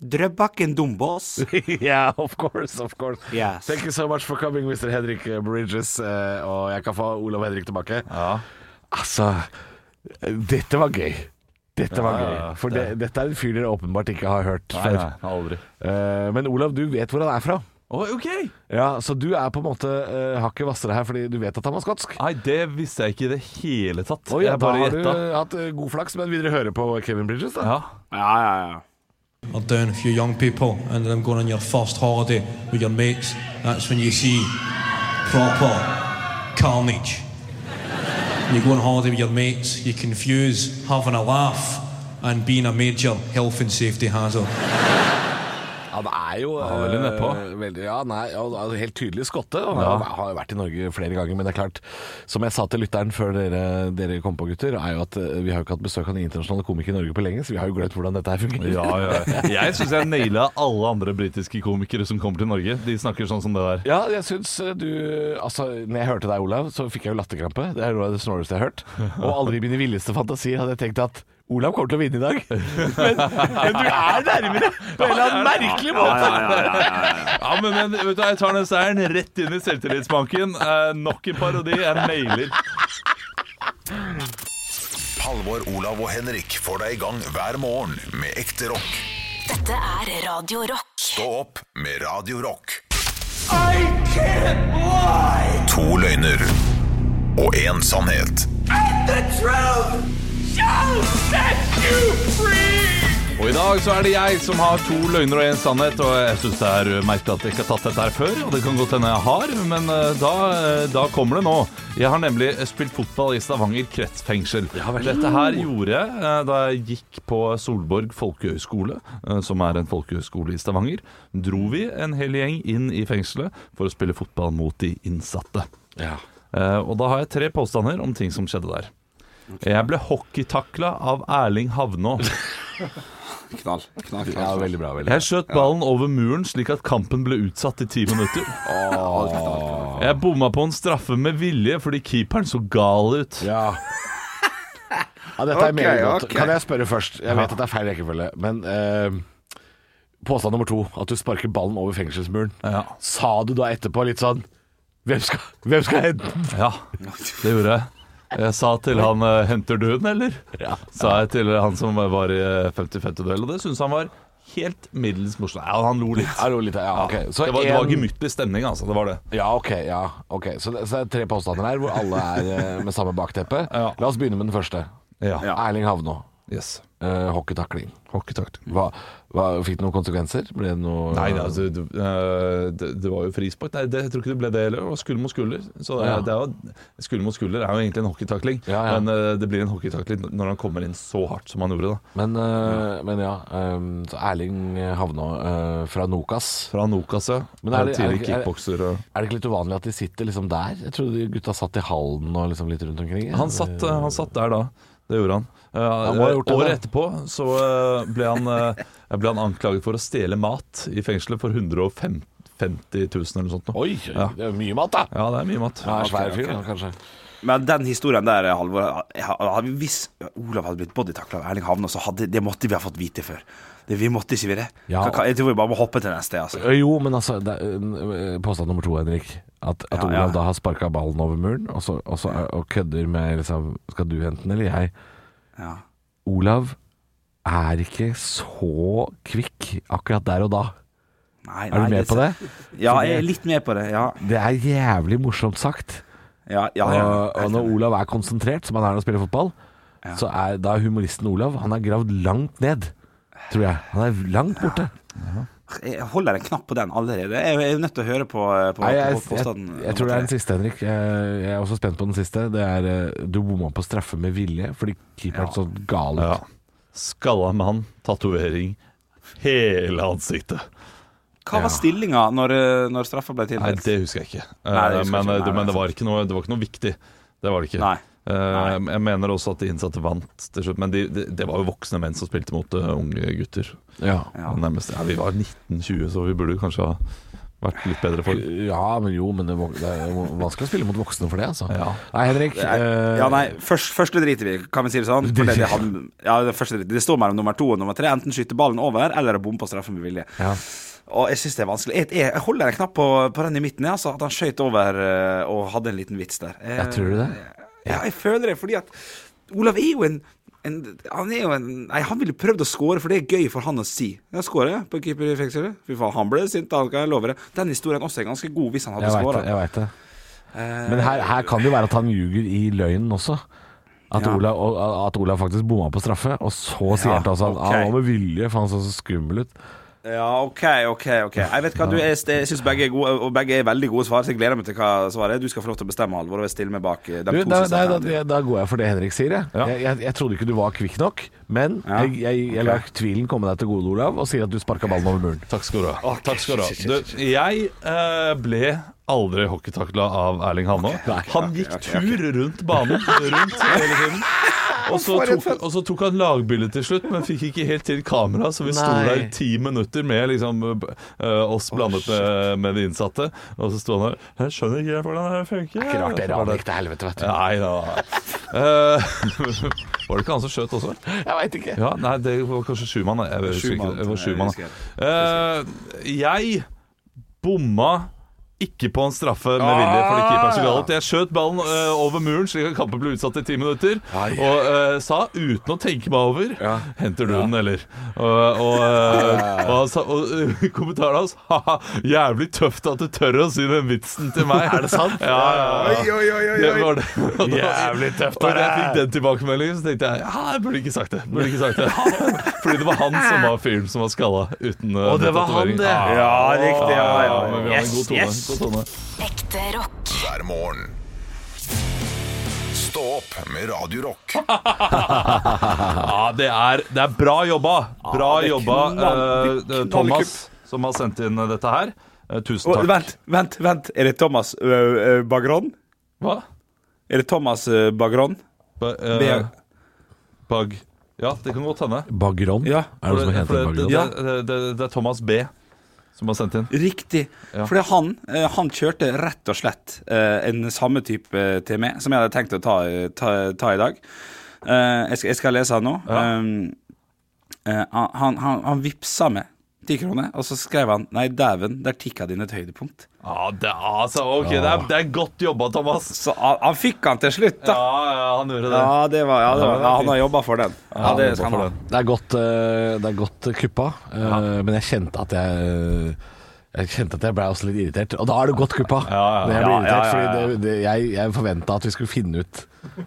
[SPEAKER 5] Drøbak and Dombås.
[SPEAKER 4] yeah, of course, of course.
[SPEAKER 5] Yes.
[SPEAKER 4] Thank you so much for coming, Mr. Henrik eh, Bridges. eh, og jeg kan få Olav Henrik tilbake. Altså, eh, dette var gøy. Dette var
[SPEAKER 3] Ja,
[SPEAKER 4] gøy.
[SPEAKER 3] ja,
[SPEAKER 4] For det, dette er en fyr dere åpenbart ikke har hørt
[SPEAKER 3] Nei,
[SPEAKER 4] før.
[SPEAKER 3] nei, aldri.
[SPEAKER 4] Eh, men Olav, du vet hvor han er fra.
[SPEAKER 3] Å, ok!
[SPEAKER 4] Ja, Så du er på en måte eh, hakket hvassere her, fordi du vet at han var skotsk?
[SPEAKER 3] Nei, det visste jeg ikke i det hele tatt.
[SPEAKER 4] Oi,
[SPEAKER 3] Ah,
[SPEAKER 4] ja,
[SPEAKER 3] jeg
[SPEAKER 4] da
[SPEAKER 3] bare
[SPEAKER 4] har du
[SPEAKER 3] gjetta.
[SPEAKER 4] hatt eh, god flaks, men vil dere høre på Kevin Bridges, da?
[SPEAKER 3] Ja.
[SPEAKER 5] yeah, yeah, yeah.
[SPEAKER 9] Are down a few young people and then going on your first holiday with your mates, that's when you see proper carnage. You go on holiday with your mates, you confuse having a laugh and being a major health and safety hazard.
[SPEAKER 4] Han er jo
[SPEAKER 3] Han er veldig
[SPEAKER 4] eh,
[SPEAKER 3] nedpå.
[SPEAKER 4] veldig- ja, nei, ja, han er helt tydelig skotte. Og han har jo vært i Norge flere ganger, men det er klart, som jeg sa til lytteren før dere, dere kom på, gutter, er jo at eh, vi har jo ikke hatt besøk av en internasjonal komiker i Norge på lenge, så vi har jo glemt hvordan dette her fungerer.
[SPEAKER 3] Ja, ja. Jeg syns jeg naila alle andre britiske komikere som kommer til Norge. De snakker sånn som det der.
[SPEAKER 4] Ja, jeg syns eh, du Altså, når jeg hørte deg, Olav, så fikk jeg jo latterkrampe. Det er noe av det snoreste jeg har hørt. Og aldri i mine villeste fantasier hadde jeg tenkt at Olav kommer til å vinne i dag. Men, men du er nærmere på en eller annen merkelig måte.
[SPEAKER 3] Ja, men, men vet du, hva, jeg tar den seieren rett inn i selvtillitsbanken. Eh, nok en parodi. Jeg nailer.
[SPEAKER 1] Halvor, Olav og Henrik får deg i gang hver morgen med ekte rock.
[SPEAKER 2] Dette er Radio Rock.
[SPEAKER 1] Stå opp med Radio Rock. To løgner og én sannhet.
[SPEAKER 3] Og i dag så er det jeg som har to løgner og én sannhet, og jeg syns det er merkelig at jeg ikke har tatt dette her før, og det kan godt hende jeg har, men eh, da, eh, da kommer det nå. Jeg har nemlig spilt fotball i Stavanger kretsfengsel. Dette her gjorde jeg eh, da jeg gikk på Solborg folkehøgskole, eh, som er en folkehøgskole i Stavanger. Dro vi en hel gjeng inn i fengselet for å spille fotball mot de innsatte. Eh, Og da har jeg tre påstander om ting som skjedde der. Jeg ble hockeytakla av Erling Havnå.
[SPEAKER 5] Knall. knall, knall,
[SPEAKER 4] Ja,
[SPEAKER 5] knall.
[SPEAKER 4] veldig bra. veldig bra.
[SPEAKER 3] Jeg skjøt ballen over muren slik at kampen ble utsatt i ti minutter. Jeg bomma på en straffe med vilje fordi keeperen så gal ut.
[SPEAKER 4] Ja. ja dette er
[SPEAKER 5] Ok,
[SPEAKER 4] meget godt.
[SPEAKER 5] ok.
[SPEAKER 4] Kan jeg spørre først? Jeg vet at det er feil rekkefølge, men eh, påstand nummer to, at du sparker ballen over fengselsmuren.
[SPEAKER 3] Ja.
[SPEAKER 4] Sa du da etterpå litt sånn Hvem skal, hvem skal hente den?
[SPEAKER 3] ja, det gjorde jeg. Jeg sa til han eh, 'Henter du den, eller?'
[SPEAKER 4] Ja.
[SPEAKER 3] Sa jeg til han som var i eh, 50-50-duell, og det syntes han var helt middels morsomt. Ja, han lo litt.
[SPEAKER 4] Hallo, litt, ja, ok. Så
[SPEAKER 3] det var, det var
[SPEAKER 4] en-
[SPEAKER 3] gemyttlig stemning, altså. Det var det.
[SPEAKER 4] Ja, ok. ja, ok Så det, så det er tre påstander her hvor alle er eh, med samme bakteppe.
[SPEAKER 3] Ja.
[SPEAKER 4] La oss begynne med den første.
[SPEAKER 3] Ja.
[SPEAKER 4] Erling Havnå,
[SPEAKER 3] Yes.
[SPEAKER 4] eh, hockeytakling.
[SPEAKER 3] Hockeytakt.
[SPEAKER 4] Hva, hva, fikk det noen konsekvenser? Ble det noe
[SPEAKER 3] Nei, det, altså, det, eh, det, det var jo frispark. Nei, det, jeg tror ikke det ble det heller. Det var skulder mot skulder. Så det, er-
[SPEAKER 4] Ja.
[SPEAKER 3] det er jo, skulder mot skulder er jo egentlig en hockeytakling,
[SPEAKER 4] Ja, ja.
[SPEAKER 3] men eh, det blir en hockeytakling når han kommer inn så hardt som han gjorde. da
[SPEAKER 4] Men, eh, men ja, eh, så Erling Havnå eh, fra Nokas.
[SPEAKER 3] Fra Nokas, ja.
[SPEAKER 4] Men er det- er det
[SPEAKER 3] Tidlig
[SPEAKER 4] ikke- er det-
[SPEAKER 3] kickbokser. Og...
[SPEAKER 4] Er det ikke litt uvanlig at de sitter liksom der? Jeg trodde de gutta satt i hallen og liksom litt rundt omkring.
[SPEAKER 3] Han, satt, eh, han satt der da. Det gjorde han. Eh,
[SPEAKER 4] må ha gjort det,
[SPEAKER 3] året
[SPEAKER 4] da.
[SPEAKER 3] etterpå så eh, ble, han, eh, ble han anklaget for å stjele mat i fengselet for 150 000 eller noe sånt. nå.
[SPEAKER 4] Oi,
[SPEAKER 3] Ja.
[SPEAKER 4] det er mye mat, da!
[SPEAKER 3] Ja, det er mye mat.
[SPEAKER 4] Ja, svær fyr, da, kanskje.
[SPEAKER 5] Men den historien der, Halvor jeg har- jeg har- Hvis Olav hadde blitt bodytakla av Erling Havne, så hadde, det måtte vi ha fått vite før. Det, vi måtte ikke vi det.
[SPEAKER 4] Ja.
[SPEAKER 5] Hva- hva- Jeg tror vi bare må hoppe til neste. Altså.
[SPEAKER 4] Eh, Jo, men altså det er, eh, Påstand nummer to, Henrik. At, at
[SPEAKER 5] Ja,
[SPEAKER 4] Olav
[SPEAKER 5] ja.
[SPEAKER 4] da har sparka ballen over muren, og, så, og, så, er- og kødder med liksom, Skal du hente den, eller jeg?
[SPEAKER 5] Ja.
[SPEAKER 4] Olav er ikke så kvikk akkurat der og da.
[SPEAKER 5] Nei,
[SPEAKER 4] Er
[SPEAKER 5] nei,
[SPEAKER 4] du med på det?
[SPEAKER 5] Ja, jeg er litt med på det. Ja,
[SPEAKER 4] Det er jævlig morsomt sagt.
[SPEAKER 5] ja, ja,
[SPEAKER 4] Og,
[SPEAKER 5] ja.
[SPEAKER 4] og når Olav er konsentrert, som han er når han spiller fotball, så er da er humoristen Olav Han er gravd langt ned, tror jeg. Han er langt borte.
[SPEAKER 5] Jeg holder en knapp på den allerede. Jeg er jo nødt til å høre på, eh, på,
[SPEAKER 4] Nei, jeg,
[SPEAKER 5] på
[SPEAKER 4] jeg, jeg,
[SPEAKER 5] påstanden.
[SPEAKER 4] tror det er den siste, Henrik. Jeg, jeg er også spent på den siste. Det er eh, Du bomma på straffe med vilje fordi keeperen så gal ut.
[SPEAKER 3] Ja. Skalla mann, tatovering. Hele ansiktet.
[SPEAKER 5] Hva var stillinga når, eh, når straffa ble
[SPEAKER 3] Nei,
[SPEAKER 5] tildelt?
[SPEAKER 3] det husker jeg ikke.
[SPEAKER 5] Nei, det husker jeg
[SPEAKER 3] Eh, men,
[SPEAKER 5] ikke. Nei,
[SPEAKER 3] det,
[SPEAKER 5] nei,
[SPEAKER 3] men det, var ikke noe, det var ikke noe viktig. Det var det ikke.
[SPEAKER 5] Nei.
[SPEAKER 3] Eh, Jeg mener også at de innsatte vant til slutt, men de, de, det var jo voksne menn som spilte mot eh, unge gutter.
[SPEAKER 4] Ja.
[SPEAKER 5] Ja.
[SPEAKER 3] Nærmest, ja, vi var 1920, så vi burde kanskje ha vært litt bedre for
[SPEAKER 4] Ja, men jo, men det, vok- det er jo vanskelig å spille mot voksne for det, altså.
[SPEAKER 3] Ja.
[SPEAKER 4] Nei, Henrik. eh,
[SPEAKER 5] Ja, nei, først, første driter vi i, kan vi si det sånn. For det, det, han- ja, det, første driter. det står mellom nummer to og nummer tre. Enten skyte ballen over, eller å bomme på straffen med vilje.
[SPEAKER 4] Ja.
[SPEAKER 5] Og jeg syns det er vanskelig. Jeg, jeg, jeg holder en knapp på, på den i midten, jeg, altså. At han skøyt over eh, og hadde en liten vits der. Eh,
[SPEAKER 4] Ja, tror du det?
[SPEAKER 5] Ja, jeg føler det, fordi at Olav er jo en, en Han er jo en Nei, han ville prøvd å score, for det er gøy for han å si. Jeg scorer på keeper i fengselet. Fy faen, han ble sint, han kan jeg love det. Den historien også er ganske god, hvis han hadde
[SPEAKER 4] Jeg veit det.
[SPEAKER 5] skåra.
[SPEAKER 4] Jeg vet det. Men her, her kan det jo være at han ljuger i løgnen også. At,
[SPEAKER 5] Ja.
[SPEAKER 4] Olav, og- at Olav faktisk bomma på straffe, og så sier
[SPEAKER 5] Ja,
[SPEAKER 4] han til oss at «Ah,
[SPEAKER 5] ok.
[SPEAKER 4] han var med vilje, for han så så skummel ut.
[SPEAKER 5] Ja, OK, OK. ok Jeg vet hva du er, jeg syns begge er gode, og begge er veldig gode svar, så jeg gleder meg til hva svaret er. Du skal få lov til å bestemme, Halvor, og jeg stiller meg bak eh,
[SPEAKER 4] Du,
[SPEAKER 5] de to.
[SPEAKER 4] da,
[SPEAKER 5] siste
[SPEAKER 4] nei,
[SPEAKER 5] her.
[SPEAKER 4] da, da, da går jeg for det Henrik sier, jeg.
[SPEAKER 3] Ja.
[SPEAKER 4] Jeg, jeg, jeg trodde ikke du var kvikk nok, men
[SPEAKER 5] Ja,
[SPEAKER 4] jeg, jeg, jeg lar tvilen komme deg til gode, Olav, og sier at du sparka ballen over muren.
[SPEAKER 3] Takk skal du ha. Takk skal du, ha. du jeg eh, ble aldri hockeytakla av Erling Hanå. Han gikk tur rundt banen rundt hele tiden. Og så, tok, og så tok han lagbildet til slutt, men fikk ikke helt til kamera, så vi sto
[SPEAKER 4] Nei.
[SPEAKER 3] der i ti minutter med liksom, eh, oss blandet med, med de innsatte. Og så sto han der Jeg skjønner ikke helt hvordan det her funker.
[SPEAKER 4] Ikke rart det ranet gikk til helvete, vet du.
[SPEAKER 3] Nei da. Eh, Var det ikke han som skjøt også?
[SPEAKER 4] Jeg veit ikke.
[SPEAKER 3] Ja, nei, det var kanskje Schumann. Jeg husker ikke.
[SPEAKER 5] Schumann.
[SPEAKER 3] Det var
[SPEAKER 5] Jeg
[SPEAKER 3] Schumann.
[SPEAKER 5] husker
[SPEAKER 3] Eh, jeg bomma ikke på en straffe med vilje, fordi
[SPEAKER 4] Ah,
[SPEAKER 3] keeperen så galt. Jeg skjøt ballen eh, over muren, slik at kampen ble utsatt i ti minutter.
[SPEAKER 4] Ai.
[SPEAKER 3] Og eh, sa, uten å tenke meg over,
[SPEAKER 4] Ja.
[SPEAKER 3] henter du den, eller? Og, og, eh, og, han sa- og eh, kommentaren hans Haha, jævlig tøft at du tør å si den vitsen til meg. Er det sant? Ja, ja, ja. Det var det.
[SPEAKER 4] Jævlig tøft,
[SPEAKER 3] Og da jeg
[SPEAKER 4] det.
[SPEAKER 3] fikk den tilbakemeldingen, så tenkte jeg ja, jeg burde ikke sagt det. Burde ikke sagt det. Fordi det var han som var fyren som var skalla uten uh,
[SPEAKER 4] Og det var han,
[SPEAKER 3] tatovering.
[SPEAKER 4] det.
[SPEAKER 3] Ja,
[SPEAKER 5] riktig. Ja, ja, ja.
[SPEAKER 3] men vi har en god tone. God tone.
[SPEAKER 2] Ekte rock.
[SPEAKER 1] hver morgen. Stå opp med Radio Rock.
[SPEAKER 3] Ja, det er, det er bra jobba. Bra
[SPEAKER 5] det er
[SPEAKER 3] jobba,
[SPEAKER 5] knall- det er
[SPEAKER 3] eh,
[SPEAKER 5] knallkupp.
[SPEAKER 3] Thomas, som har sendt inn eh, dette her. Eh, tusen
[SPEAKER 5] Å,
[SPEAKER 3] takk.
[SPEAKER 5] vent, vent, vent. Er det Thomas ø, ø, Bagron?
[SPEAKER 3] Hva?
[SPEAKER 5] Er det Thomas ø, Bagron?
[SPEAKER 3] Ba, eh,
[SPEAKER 5] Be-
[SPEAKER 3] bag. Ja, det kan godt hende.
[SPEAKER 4] Bagron?
[SPEAKER 5] Ja.
[SPEAKER 4] Er det noe som
[SPEAKER 3] For
[SPEAKER 4] heter
[SPEAKER 3] det,
[SPEAKER 4] Bagron?
[SPEAKER 3] det, det, det, det er Thomas B som har sendt inn.
[SPEAKER 5] Riktig.
[SPEAKER 3] Ja.
[SPEAKER 5] Fordi han, eh, han kjørte rett og slett eh, en samme type eh, til meg, som jeg hadde tenkt å ta, eh, ta, ta i dag. Eh, jeg, skal, jeg skal lese han nå. Um, eh, han, han, han vippsa meg ti kroner, og så skrev han 'Nei, dæven, der tikka din et høydepunkt'.
[SPEAKER 3] Ja, det, er- altså, ok, det, er, det er godt jobba, Thomas.
[SPEAKER 5] Så han, han fikk han til slutt, da.
[SPEAKER 3] Ja, ja, han gjorde det.
[SPEAKER 5] Ja, det var, ja, det var, ja, han har jobba for den. Ja, det
[SPEAKER 3] jobba for
[SPEAKER 5] skal han ha.
[SPEAKER 3] den.
[SPEAKER 4] Det er godt, eh, det er godt eh, kuppa, eh, men jeg kjente at jeg jeg kjente at jeg ble også litt irritert, og da er det godt kuppa.
[SPEAKER 3] ja, ja.
[SPEAKER 4] Når jeg ble
[SPEAKER 5] Ja, ja,
[SPEAKER 4] irritert,
[SPEAKER 5] ja, ja.
[SPEAKER 4] fordi det, det, jeg, jeg forventa at vi skulle finne ut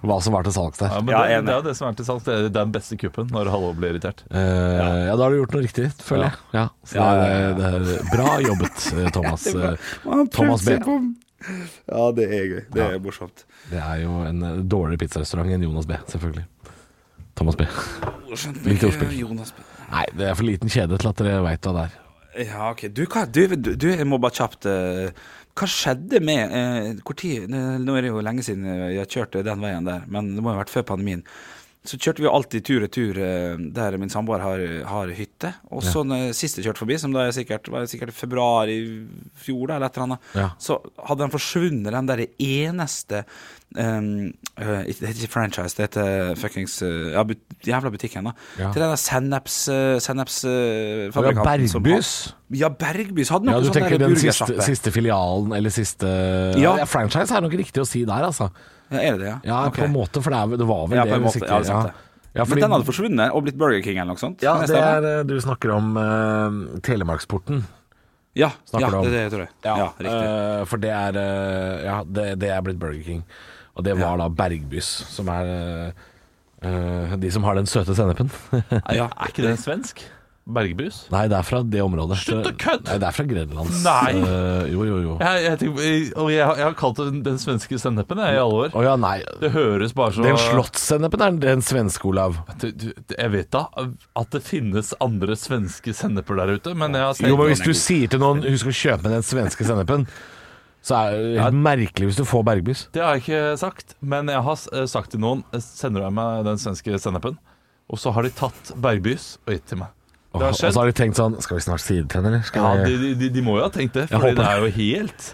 [SPEAKER 4] hva som var til salgs der.
[SPEAKER 3] Ja, men
[SPEAKER 5] Ja,
[SPEAKER 3] det,
[SPEAKER 5] enig.
[SPEAKER 3] det er jo det som er til salgs. Det er det er den beste kuppen når Halvor blir irritert.
[SPEAKER 4] Eh, ja. da har du gjort noe riktig, føler jeg. Ja, så det er- Det, er bra jobbet, eh, Thomas.
[SPEAKER 5] Han
[SPEAKER 4] Thomas
[SPEAKER 5] prøvde seg
[SPEAKER 4] B.
[SPEAKER 5] på- Ja, det er gøy. Det er morsomt.
[SPEAKER 4] Det er jo en eh, dårligere pizzarestaurant enn Jonas B, selvfølgelig. Thomas B. Litt ordspill.
[SPEAKER 5] Jonas B.
[SPEAKER 4] Nei, det er for liten kjede til at dere veit hva det er.
[SPEAKER 5] Ja, ok. Du, hva, du, du, du jeg må bare kjapt eh, Hva skjedde med eh, Hvor tid eh, Nå er det jo lenge siden eh, jeg kjørte den veien der, men det må jo ha vært før pandemien. Så kjørte vi jo alltid tur og tur eh, der min samboer har, har hytte. Og så når jeg sist jeg kjørte forbi, som da er sikkert, var sikkert i februar i fjor, da, eller et eller annet,
[SPEAKER 4] Ja.
[SPEAKER 5] så hadde den forsvunnet, den der eneste um, eh, ikke- Det heter ikke franchise, det heter fuckings eh, ja, but, jævla butikken, da.
[SPEAKER 4] Ja.
[SPEAKER 5] Til den der senneps... Uh, senneps eh,
[SPEAKER 4] Det er
[SPEAKER 5] fabrikanten som har-
[SPEAKER 4] Bergbys.
[SPEAKER 5] ja, Bergbys hadde noe
[SPEAKER 4] Ja, du
[SPEAKER 5] sånn
[SPEAKER 4] tenker
[SPEAKER 5] der
[SPEAKER 4] den siste,
[SPEAKER 5] burgersjappe.
[SPEAKER 4] siste filialen, eller siste
[SPEAKER 5] Ja.
[SPEAKER 4] ja. Franchise er nok riktig å si der, altså.
[SPEAKER 5] Ja, er det det, ja?
[SPEAKER 4] Ja,
[SPEAKER 5] Ok.
[SPEAKER 4] på en måte, for det, er, vel- det var vel
[SPEAKER 5] Ja, på
[SPEAKER 4] det.
[SPEAKER 5] en
[SPEAKER 4] hvis
[SPEAKER 5] måte,
[SPEAKER 4] ikke-
[SPEAKER 5] ja, det er sant det.
[SPEAKER 4] Ja, fordi,
[SPEAKER 5] Men den hadde forsvunnet og blitt Burger King eller noe sånt?
[SPEAKER 4] ja,
[SPEAKER 5] Kan
[SPEAKER 4] det
[SPEAKER 5] stemme?
[SPEAKER 4] er eh, Du snakker om eh, Telemarksporten.
[SPEAKER 5] ja,
[SPEAKER 4] snakker
[SPEAKER 5] ja,
[SPEAKER 4] du om.
[SPEAKER 5] det er det jeg tror jeg. Ja, riktig.
[SPEAKER 4] eh, for det er eh, Ja, det, det er blitt Burger King. Og det var da Bergbys, som er eh, eh, de som har den søte sennepen.
[SPEAKER 5] ja.
[SPEAKER 3] Er ikke det svensk? Bergbus?
[SPEAKER 4] Nei, det er fra det området.
[SPEAKER 3] Slutt å kødde!
[SPEAKER 4] Nei, det er fra Grenlands.
[SPEAKER 3] Nei.
[SPEAKER 4] eh, jo, jo, jo. Å
[SPEAKER 3] Jeg, jeg, tenker- jeg, og jeg, har- jeg har kalt det den- den svenske sennepen jeg, i alle år.
[SPEAKER 4] ja, nei.
[SPEAKER 3] Det høres bare så
[SPEAKER 4] Den slottssennepen er den svenske, Olav.
[SPEAKER 3] Du- du- Jeg vet da at det finnes andre svenske senneper der ute, men jeg har sett
[SPEAKER 4] Jo, men hvis du sier til noen Husk å kjøpe den svenske sennepen Så er det helt merkelig hvis du får bergbys
[SPEAKER 3] Det har jeg ikke sagt, men jeg har s- eh, sagt til noen Sender du meg den svenske sennepen? Og så har de tatt Bergbys og gitt til meg. Det
[SPEAKER 4] Og
[SPEAKER 3] har
[SPEAKER 4] og så
[SPEAKER 3] skjedd.
[SPEAKER 4] har de tenkt sånn Skal vi snart sidetenne, eller? Skal
[SPEAKER 3] Ja,
[SPEAKER 4] vi...
[SPEAKER 3] de, de, de må jo ha tenkt det,
[SPEAKER 4] Jeg
[SPEAKER 3] for det
[SPEAKER 4] håper
[SPEAKER 3] er jo helt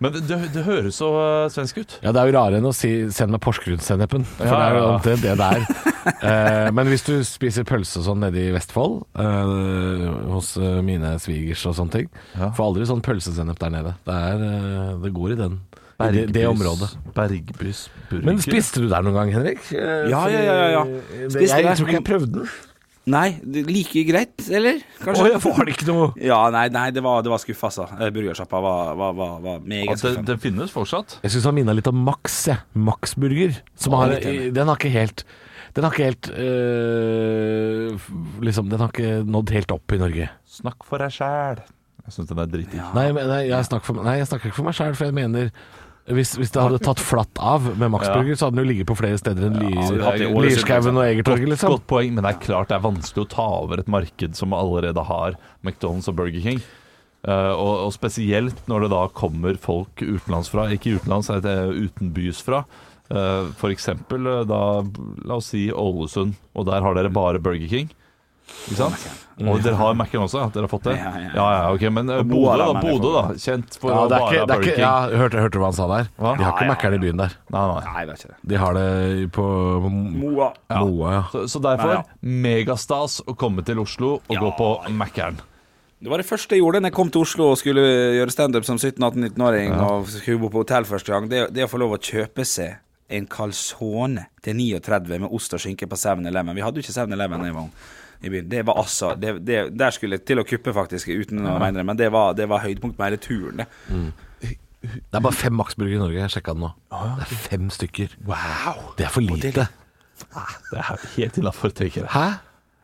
[SPEAKER 3] Men det, det, det høres så eh, svensk ut.
[SPEAKER 4] ja, det er jo rarere enn å si 'send meg Porsgrunnssennepen', for
[SPEAKER 3] Ja,
[SPEAKER 4] det er jo
[SPEAKER 3] ja, ja.
[SPEAKER 4] det det der. Eh, men hvis du spiser pølse og sånn nede i Vestfold, eh, hos eh, mine svigers og sånne ting, får aldri sånn pølsesennep der nede. Det, er, eh, det går i den. I det, det området.
[SPEAKER 3] Bergbys burger.
[SPEAKER 4] Men spiste du der noen gang, Henrik? Eh,
[SPEAKER 5] Ja, ja, ja, ja, ja.
[SPEAKER 4] fordi-
[SPEAKER 5] Spiste
[SPEAKER 4] Jeg
[SPEAKER 5] der.
[SPEAKER 4] tror ikke jeg prøvde den.
[SPEAKER 5] Nei, det- like greit, eller?
[SPEAKER 4] Å,
[SPEAKER 5] Kanskje?
[SPEAKER 4] jeg får det ikke noe
[SPEAKER 5] Ja, nei, nei, det var, det var skuffa, altså. Eh, Burgersjappa var, var, var, var meget
[SPEAKER 3] At det,
[SPEAKER 5] skuffende.
[SPEAKER 3] det finnes fortsatt.
[SPEAKER 4] Jeg syns han minna litt om Max, jeg. Max Burger. Som har,
[SPEAKER 5] litt enig.
[SPEAKER 4] den har ikke helt Den har ikke helt øh, f- Liksom, den har ikke nådd helt opp i Norge.
[SPEAKER 3] Snakk for deg sjæl. Jeg syns den er dritdigg.
[SPEAKER 4] Nei, men, nei, jeg snakker for, nei, jeg snakker ikke for meg sjæl, for jeg mener hvis, hvis det hadde tatt flatt av med Max
[SPEAKER 3] Ja.
[SPEAKER 4] Burger, så hadde den jo ligget på flere steder enn
[SPEAKER 3] så det
[SPEAKER 4] Ly-
[SPEAKER 3] hadde jo
[SPEAKER 4] Lierskogen og Egertorget,
[SPEAKER 3] Godt,
[SPEAKER 4] liksom.
[SPEAKER 3] godt poeng, men det er klart det er vanskelig å ta over et marked som allerede har McDonald's og Burger King. Eh, og, og spesielt når det da kommer folk utenlandsfra, ikke utenlands, jeg heter utenbysfra. eh, Uh, for eksempel eh, da, la oss si Ålesund, og der har dere bare Burger King. Ikke sant? Og dere har Mac-en også? Dere har fått det?
[SPEAKER 5] Ja,
[SPEAKER 3] Ja,
[SPEAKER 5] ja, ja.
[SPEAKER 3] ja, ok, Men eh,
[SPEAKER 5] Og
[SPEAKER 3] Bodø, da.
[SPEAKER 5] Boa-ram er det
[SPEAKER 3] Bodø, da.
[SPEAKER 5] for-
[SPEAKER 3] Kjent for
[SPEAKER 4] Ja,
[SPEAKER 3] å
[SPEAKER 4] det er
[SPEAKER 3] bare ha
[SPEAKER 4] ikke, det er
[SPEAKER 3] Burger
[SPEAKER 4] ikke,
[SPEAKER 3] King.
[SPEAKER 4] ja, hørte, hørte du hva han sa der? De har
[SPEAKER 5] Ja,
[SPEAKER 4] ikke
[SPEAKER 5] ja,
[SPEAKER 4] Mækkern i byen der.
[SPEAKER 3] Nei, nei.
[SPEAKER 5] Nei, jeg vet ikke det.
[SPEAKER 4] De har det på
[SPEAKER 5] Moa.
[SPEAKER 4] ja. Moa, ja.
[SPEAKER 3] Så, så derfor,
[SPEAKER 5] Nei, ja.
[SPEAKER 3] megastas å komme til Oslo og gå på Mac-eren.
[SPEAKER 5] Det var det første jeg gjorde da jeg kom til Oslo og skulle gjøre standup som 17-18-19-åring og skulle bo på hotell første gang. Det, det å få lov å kjøpe seg en calzone til 39 med ost og skinke på 7-Eleven. Vi hadde jo ikke 7-Eleven da jeg var ung. I byen. Det var altså det, det, Der skulle jeg til å kuppe, faktisk, uten å mene det, men det var, det var høydepunkt på hele turen, det.
[SPEAKER 4] Det er bare fem Maxburger i Norge, jeg sjekka det nå. Det er fem stykker. Det er for lite.
[SPEAKER 3] Ah, Det er helt innafor, tenker jeg.
[SPEAKER 4] Hæ?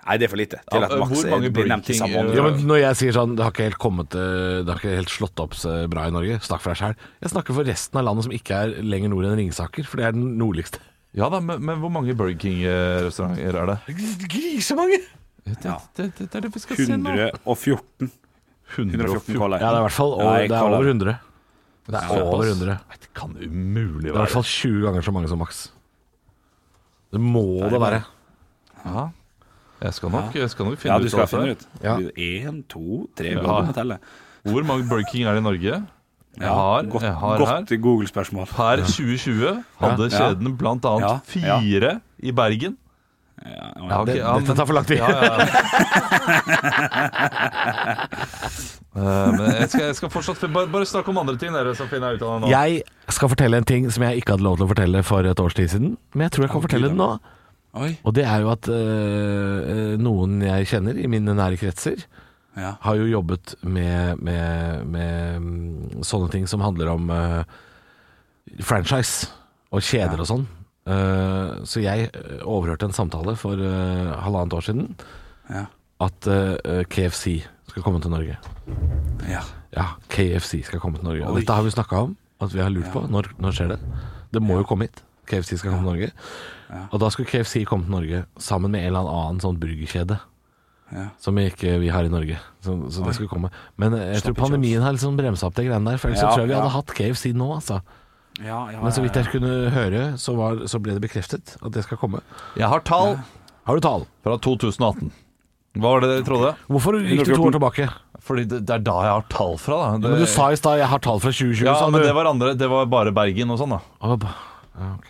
[SPEAKER 5] Nei, det er for lite til
[SPEAKER 3] Ja,
[SPEAKER 5] at
[SPEAKER 3] øh,
[SPEAKER 5] Max
[SPEAKER 3] hvor mange
[SPEAKER 5] er- blir nevnt
[SPEAKER 3] Burger
[SPEAKER 5] i
[SPEAKER 3] King,
[SPEAKER 5] samme
[SPEAKER 3] øh,
[SPEAKER 4] Ja,
[SPEAKER 5] ånd.
[SPEAKER 4] men når jeg sier sånn Det har ikke helt kommet eh, Det har ikke helt slått opp seg bra i Norge. Snakk for deg sjæl. Jeg snakker for resten av landet som ikke er lenger nord enn Ringsaker, for det er den nordligste.
[SPEAKER 3] Ja da, men, men hvor mange Burger King-restauranter er det?
[SPEAKER 4] Grisemange!
[SPEAKER 3] Det, det, det, det er det vi skal se nå.
[SPEAKER 5] 114. 114
[SPEAKER 3] 114.
[SPEAKER 4] Ja,
[SPEAKER 5] Color.
[SPEAKER 4] det er i hvert fall over,
[SPEAKER 5] Nei,
[SPEAKER 4] det er
[SPEAKER 5] Color.
[SPEAKER 4] over 100. Det er
[SPEAKER 3] Såpass.
[SPEAKER 4] over 100.
[SPEAKER 3] Nei, Det kan umulig
[SPEAKER 4] Det er i hvert
[SPEAKER 3] være
[SPEAKER 4] fall 20 ganger så mange som maks. Det må det være.
[SPEAKER 3] ja. jeg, skal nok, jeg skal nok finne
[SPEAKER 5] Ja, du skal
[SPEAKER 3] av
[SPEAKER 5] finne
[SPEAKER 3] det.
[SPEAKER 5] ut.
[SPEAKER 4] Ja.
[SPEAKER 5] Én, to, tre
[SPEAKER 3] Ja.
[SPEAKER 5] ja. telle.
[SPEAKER 3] Hvor mange Burger King er det i Norge? Jeg har,
[SPEAKER 5] godt,
[SPEAKER 3] jeg har
[SPEAKER 5] godt Google-spørsmål.
[SPEAKER 3] her Per 2020 hadde
[SPEAKER 5] Ja.
[SPEAKER 3] kjeden blant annet
[SPEAKER 5] Ja. Ja.
[SPEAKER 3] fire i Bergen.
[SPEAKER 5] Ja, ja.
[SPEAKER 3] Ja, ok,
[SPEAKER 4] Det-
[SPEAKER 3] ja, men-
[SPEAKER 4] Dette tar for lang tid.
[SPEAKER 3] Ja, ja, ja. Eh, men jeg skal, jeg skal fortsatt Bare, bare snakk om andre ting, dere, så finner jeg ut av det nå.
[SPEAKER 4] Jeg skal fortelle en ting som jeg ikke hadde lov til å fortelle for et års tid siden, men jeg tror jeg kan fortelle den nå.
[SPEAKER 5] Oi.
[SPEAKER 4] Og det er jo at øh, øh, noen jeg kjenner i mine nære kretser,
[SPEAKER 5] Ja.
[SPEAKER 4] har jo jobbet med, med, med mm, sånne ting som handler om øh, franchise og kjeder og sånn. Eh, så jeg øh, overhørte en samtale for øh, halvannet år siden
[SPEAKER 5] Ja.
[SPEAKER 4] at øh, KFC skal komme til Norge.
[SPEAKER 5] Ja.
[SPEAKER 4] Ja, KFC skal komme til Norge. Og
[SPEAKER 5] Oi.
[SPEAKER 4] dette har vi snakka om, at vi har lurt på. Når, når skjer det? Det må jo komme hit. KFC skal komme til Norge. Og da skulle KFC komme til Norge sammen med en eller annen sånn burgerkjede.
[SPEAKER 5] Ja.
[SPEAKER 4] Som ikke vi har i Norge. Så, så det skulle komme. Men eh, jeg tror pandemien har liksom bremsa opp de greiene der. For ellers
[SPEAKER 5] Ja,
[SPEAKER 4] så tror jeg vi
[SPEAKER 5] ja.
[SPEAKER 4] hadde hatt KFC nå, altså.
[SPEAKER 5] Ja, ja,
[SPEAKER 4] Men så vidt jeg kunne høre, så, var, så ble det bekreftet at det skal komme.
[SPEAKER 3] Jeg har tall
[SPEAKER 4] Har du tall?
[SPEAKER 3] fra 2018. Hva var det dere trodde?
[SPEAKER 4] Hvorfor gikk du to år tilbake?
[SPEAKER 3] Fordi det, det er da jeg har tall fra, da. Det,
[SPEAKER 4] Men du sa i stad 'jeg har tall fra 2020',
[SPEAKER 3] ja,
[SPEAKER 4] sa
[SPEAKER 3] men
[SPEAKER 4] du.
[SPEAKER 3] det var andre. Det var bare Bergen og sånn, da.
[SPEAKER 4] Å, ba- Ja, ok.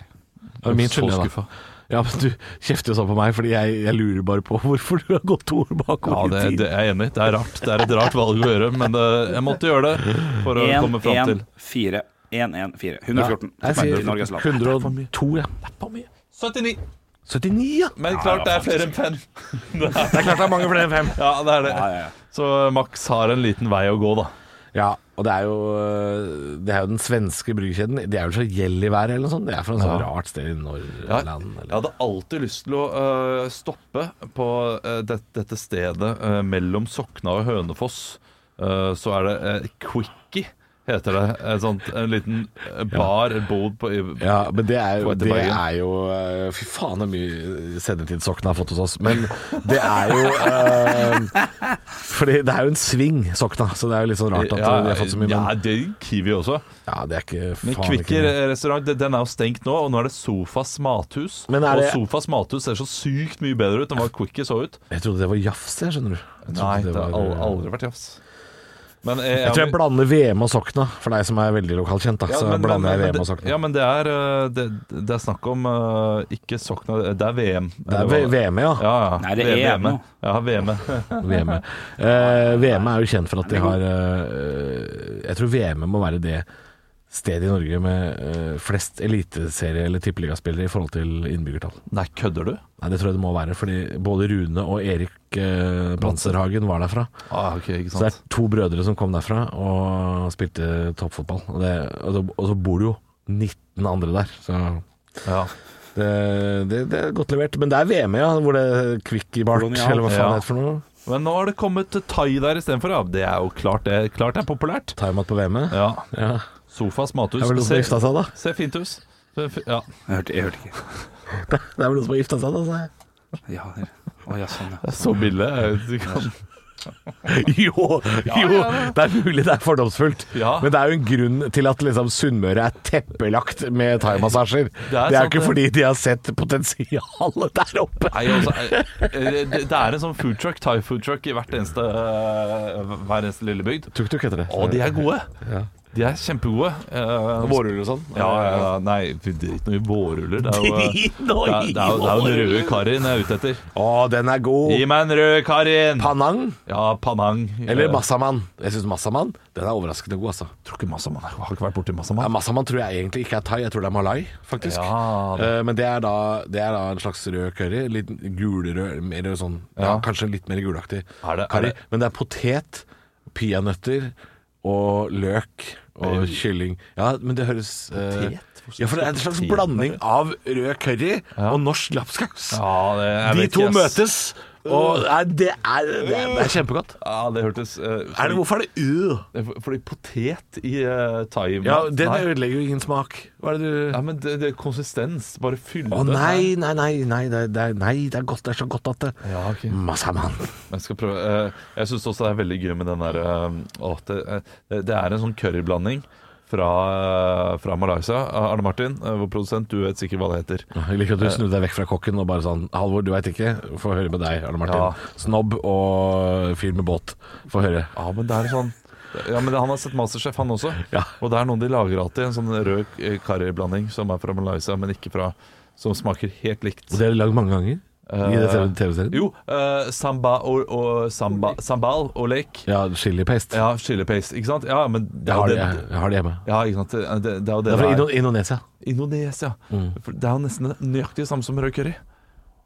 [SPEAKER 4] Det var min
[SPEAKER 3] Så
[SPEAKER 4] skyld, det, da.
[SPEAKER 3] skuffa.
[SPEAKER 4] Ja, men Du kjefter jo sånn på meg, fordi jeg, jeg lurer bare på hvorfor du har gått to år
[SPEAKER 3] Ja,
[SPEAKER 4] bakover
[SPEAKER 3] det,
[SPEAKER 4] i tid.
[SPEAKER 3] det er jeg enig. i. Det er rart. Det er et rart valg å gjøre, men det, jeg måtte gjøre det for å komme fram til
[SPEAKER 5] 114. 114.
[SPEAKER 4] Jeg
[SPEAKER 5] i Norges land.
[SPEAKER 4] sier 102, ja.
[SPEAKER 3] 79.
[SPEAKER 4] 79, ja!
[SPEAKER 3] Men klart det er flere enn fem.
[SPEAKER 4] Det er klart det er mange flere enn fem.
[SPEAKER 3] Ja, det er det.
[SPEAKER 5] Ja, ja, ja.
[SPEAKER 3] Så Max har en liten vei å gå, da.
[SPEAKER 4] Ja, og det er jo, øh, det er jo den svenske bryggerkjeden. De er vel fra Gällivare eller noe sånt. Det er fra noe sånt
[SPEAKER 3] Ja.
[SPEAKER 4] rart sted i
[SPEAKER 3] Ja,
[SPEAKER 4] Norrland.
[SPEAKER 3] jeg
[SPEAKER 4] eller-
[SPEAKER 3] hadde alltid lyst til å øh, stoppe på øh, det, dette stedet øh, mellom Sokna og Hønefoss. Øh, så er det øh, Quickie, heter det. En, sånn, en liten øh, bar, en bod på i,
[SPEAKER 4] Ja, men det er, jo-
[SPEAKER 3] På etter
[SPEAKER 4] det
[SPEAKER 3] Bergen.
[SPEAKER 4] er jo øh, Fy faen så mye sendetid Sokna har fått hos oss. Men det er jo øh, Fordi det er jo en sving, Sokna, så det er jo litt sånn rart at øh, de har fått så mye.
[SPEAKER 3] ja,
[SPEAKER 4] Men
[SPEAKER 3] det er Kiwi også.
[SPEAKER 4] Ja, det er ikke
[SPEAKER 3] Men
[SPEAKER 4] faen
[SPEAKER 3] Kvikki
[SPEAKER 4] ikke det.
[SPEAKER 3] restaurant det- den er jo stengt nå, og nå er det Sofas mathus.
[SPEAKER 4] Men er det-
[SPEAKER 3] Og Sofas mathus ser så sykt mye bedre ut enn hva Quickie så ut.
[SPEAKER 4] Jeg trodde det var jafs, jeg, skjønner du. Jeg trodde
[SPEAKER 3] Nei, det har
[SPEAKER 4] var- eh,
[SPEAKER 3] al- aldri vært jafs. Men, eh,
[SPEAKER 4] Jeg tror jeg blander VM og Sokna, for deg som er veldig lokalkjent. Da,
[SPEAKER 3] Ja,
[SPEAKER 4] så
[SPEAKER 3] men- men-
[SPEAKER 4] blander jeg
[SPEAKER 3] men
[SPEAKER 4] VM og
[SPEAKER 3] det-
[SPEAKER 4] Sokna.
[SPEAKER 3] Ja, men det er, eh, det, det er snakk om eh, ikke Sokna, det er VM.
[SPEAKER 4] det er
[SPEAKER 3] Eller
[SPEAKER 4] V-
[SPEAKER 3] hva-
[SPEAKER 4] VM, ja.
[SPEAKER 3] Ja, ja.
[SPEAKER 5] Nei, det er
[SPEAKER 3] VM.
[SPEAKER 5] nå.
[SPEAKER 3] Ja, E. VM.
[SPEAKER 4] VM. E. Eh, VM er jo kjent for at de har eh, Jeg tror VM må være det stedet i Norge med eh, flest eliteserie- eller tippeligaspillere i forhold til innbyggertall.
[SPEAKER 3] Nei, kødder du?
[SPEAKER 4] Nei, Det tror jeg det må være, fordi både Rune og Erik eh, Panserhagen var derfra.
[SPEAKER 3] Ah, ok, ikke
[SPEAKER 4] Så det
[SPEAKER 3] sant.
[SPEAKER 4] er to brødre som kom derfra og spilte toppfotball. Og, det, og, så, og så bor det jo 19 andre der, så
[SPEAKER 3] Ja.
[SPEAKER 4] det, det, det er godt levert. Men det er VM, ja, hvor det er Quickiebart,
[SPEAKER 5] Kolonial.
[SPEAKER 4] eller hva faen
[SPEAKER 3] Ja.
[SPEAKER 4] det heter for noe.
[SPEAKER 3] Men nå har det kommet thai der istedenfor, ja. Det er jo klart det, klart det er populært.
[SPEAKER 4] Time-out på VM-et.
[SPEAKER 3] Ja.
[SPEAKER 4] Ja.
[SPEAKER 3] Sofas mathus.
[SPEAKER 4] Det er vel noen som har
[SPEAKER 3] Ser-
[SPEAKER 4] gifta seg, da.
[SPEAKER 3] Ser fint ut. Ser fi- Ja.
[SPEAKER 5] Jeg hørte, jeg hørte ikke.
[SPEAKER 4] Det er vel noen som har gifta seg, da. sa jeg.
[SPEAKER 5] Ja, det- Å ja, sånn, ja.
[SPEAKER 3] Det er så billig. Jeg vet ikke om-
[SPEAKER 4] Jo, jo, det er mulig det er fordomsfullt,
[SPEAKER 3] Ja.
[SPEAKER 4] men det er jo en grunn til at liksom Sunnmøre er teppelagt med thaimassasjer. Det,
[SPEAKER 3] er
[SPEAKER 4] er jo
[SPEAKER 3] sant,
[SPEAKER 4] ikke
[SPEAKER 3] det.
[SPEAKER 4] fordi de har sett potensialet der oppe.
[SPEAKER 3] Nei, altså, eh, eh, det det er en sånn food truck, thai food truck i hvert eneste, eh, hver eneste lille bygd.
[SPEAKER 4] Tuk-tuk heter det.
[SPEAKER 3] Og de er gode. De er kjempegode. Eh,
[SPEAKER 4] Vårruller og sånn?
[SPEAKER 3] Ja, ja, ja. Nei, drit nå i vårruller. Det er jo eh, det
[SPEAKER 4] Drit nå
[SPEAKER 3] er, det er,
[SPEAKER 4] i
[SPEAKER 3] det er jo den røde
[SPEAKER 4] vårruller.
[SPEAKER 3] karrien jeg er ute etter.
[SPEAKER 4] Å, den er god.
[SPEAKER 3] Gi meg en rød karrien!
[SPEAKER 4] Panang
[SPEAKER 3] Ja, panang.
[SPEAKER 4] eller
[SPEAKER 3] Eh,
[SPEAKER 4] Massaman. Jeg syns Massaman den er overraskende god, altså.
[SPEAKER 3] Tror ikke Massaman. Jeg har ikke vært borti
[SPEAKER 4] Ja,
[SPEAKER 3] Massaman.
[SPEAKER 4] Massaman tror jeg egentlig ikke er thai, jeg tror det er malai, faktisk.
[SPEAKER 3] Ja, det-
[SPEAKER 4] Eh, Men det er, da, det er da en slags rød curry. Litt gulrød, mer sånn ja.
[SPEAKER 3] Ja.
[SPEAKER 4] Kanskje litt mer gulaktig
[SPEAKER 3] Er det- er
[SPEAKER 4] curry.
[SPEAKER 3] det-
[SPEAKER 4] Men det er potet, peanøtter og løk og kylling. Ja, men det høres eh,
[SPEAKER 3] Potet? Hvorfor
[SPEAKER 4] Ja, for det er en slags
[SPEAKER 3] potet?
[SPEAKER 4] blanding av rød curry og norsk lapskaus.
[SPEAKER 3] Ja, det, jeg
[SPEAKER 4] De
[SPEAKER 3] vet
[SPEAKER 4] to
[SPEAKER 3] ikke, ass.
[SPEAKER 4] møtes, og nei, det er, det er, det er kjempegodt.
[SPEAKER 3] Ja, det hørtes eh,
[SPEAKER 4] Er det, hvorfor er det u?
[SPEAKER 3] fordi, fordi Eh, potet i uh, thaimat
[SPEAKER 4] Ja, Den
[SPEAKER 3] Nei.
[SPEAKER 4] ødelegger jo ingen smak. Hva er det du
[SPEAKER 3] Ja, men det, det er konsistens. Bare fylle
[SPEAKER 4] Å
[SPEAKER 3] det.
[SPEAKER 4] nei, nei, nei, nei, det er- det er, nei, det er godt, det er så godt at det
[SPEAKER 3] Ja, ok.
[SPEAKER 4] Massaman.
[SPEAKER 3] Jeg skal prøve. eh, Jeg syns også det er veldig gøy med den der eh, å, det, eh, det er en sånn curryblanding fra, eh, fra Malaysia. Arne Martin, eh, vår produsent, du vet sikkert hva det heter.
[SPEAKER 4] Jeg liker at du snudde deg vekk fra kokken og bare sånn Halvor, du veit ikke, få høre med deg, Arne Martin.
[SPEAKER 3] Ja.
[SPEAKER 4] Snobb og fyr med båt, få høre.
[SPEAKER 3] Ja, men det er sånn ja, men Han har sett Masterchef, han også.
[SPEAKER 4] Ja.
[SPEAKER 3] Og det er noen de lager alltid. En sånn rød eh, curryblanding som er fra Malaysia, men ikke fra Som smaker helt likt.
[SPEAKER 4] Og det har de lagd mange ganger i det TV- TV-serien.
[SPEAKER 3] Jo. eh, samba og, og samba, sambal og lake.
[SPEAKER 4] Ja, chilipaste.
[SPEAKER 3] Ja, chili paste, ikke sant? Ja, men det er
[SPEAKER 4] Jeg, har
[SPEAKER 3] jo
[SPEAKER 4] det,
[SPEAKER 3] det,
[SPEAKER 4] jeg, jeg har det hjemme.
[SPEAKER 3] ja, ikke sant? Det, det, det er jo
[SPEAKER 4] Det
[SPEAKER 3] det
[SPEAKER 4] er fra
[SPEAKER 3] det
[SPEAKER 4] Indo Mm. Indonesia.
[SPEAKER 3] Indonesia. For det er jo nesten nøyaktig det samme som rød curry.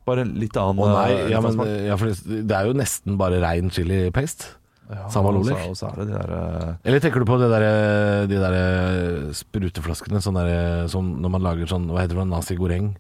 [SPEAKER 3] Bare en litt annen
[SPEAKER 4] Å
[SPEAKER 3] eh,
[SPEAKER 4] nei,
[SPEAKER 3] litt
[SPEAKER 4] ja,
[SPEAKER 3] annen
[SPEAKER 4] men,
[SPEAKER 3] smak.
[SPEAKER 4] ja, for det det er jo nesten bare rein chilipaste.
[SPEAKER 3] Ja,
[SPEAKER 4] sambal
[SPEAKER 3] og så-
[SPEAKER 4] olek.
[SPEAKER 3] Og så er det de der eh,
[SPEAKER 4] Eller tenker du på det der, eh, de der eh, spruteflaskene sånn der, som når man lager sånn Hva heter det? Nasi goreng?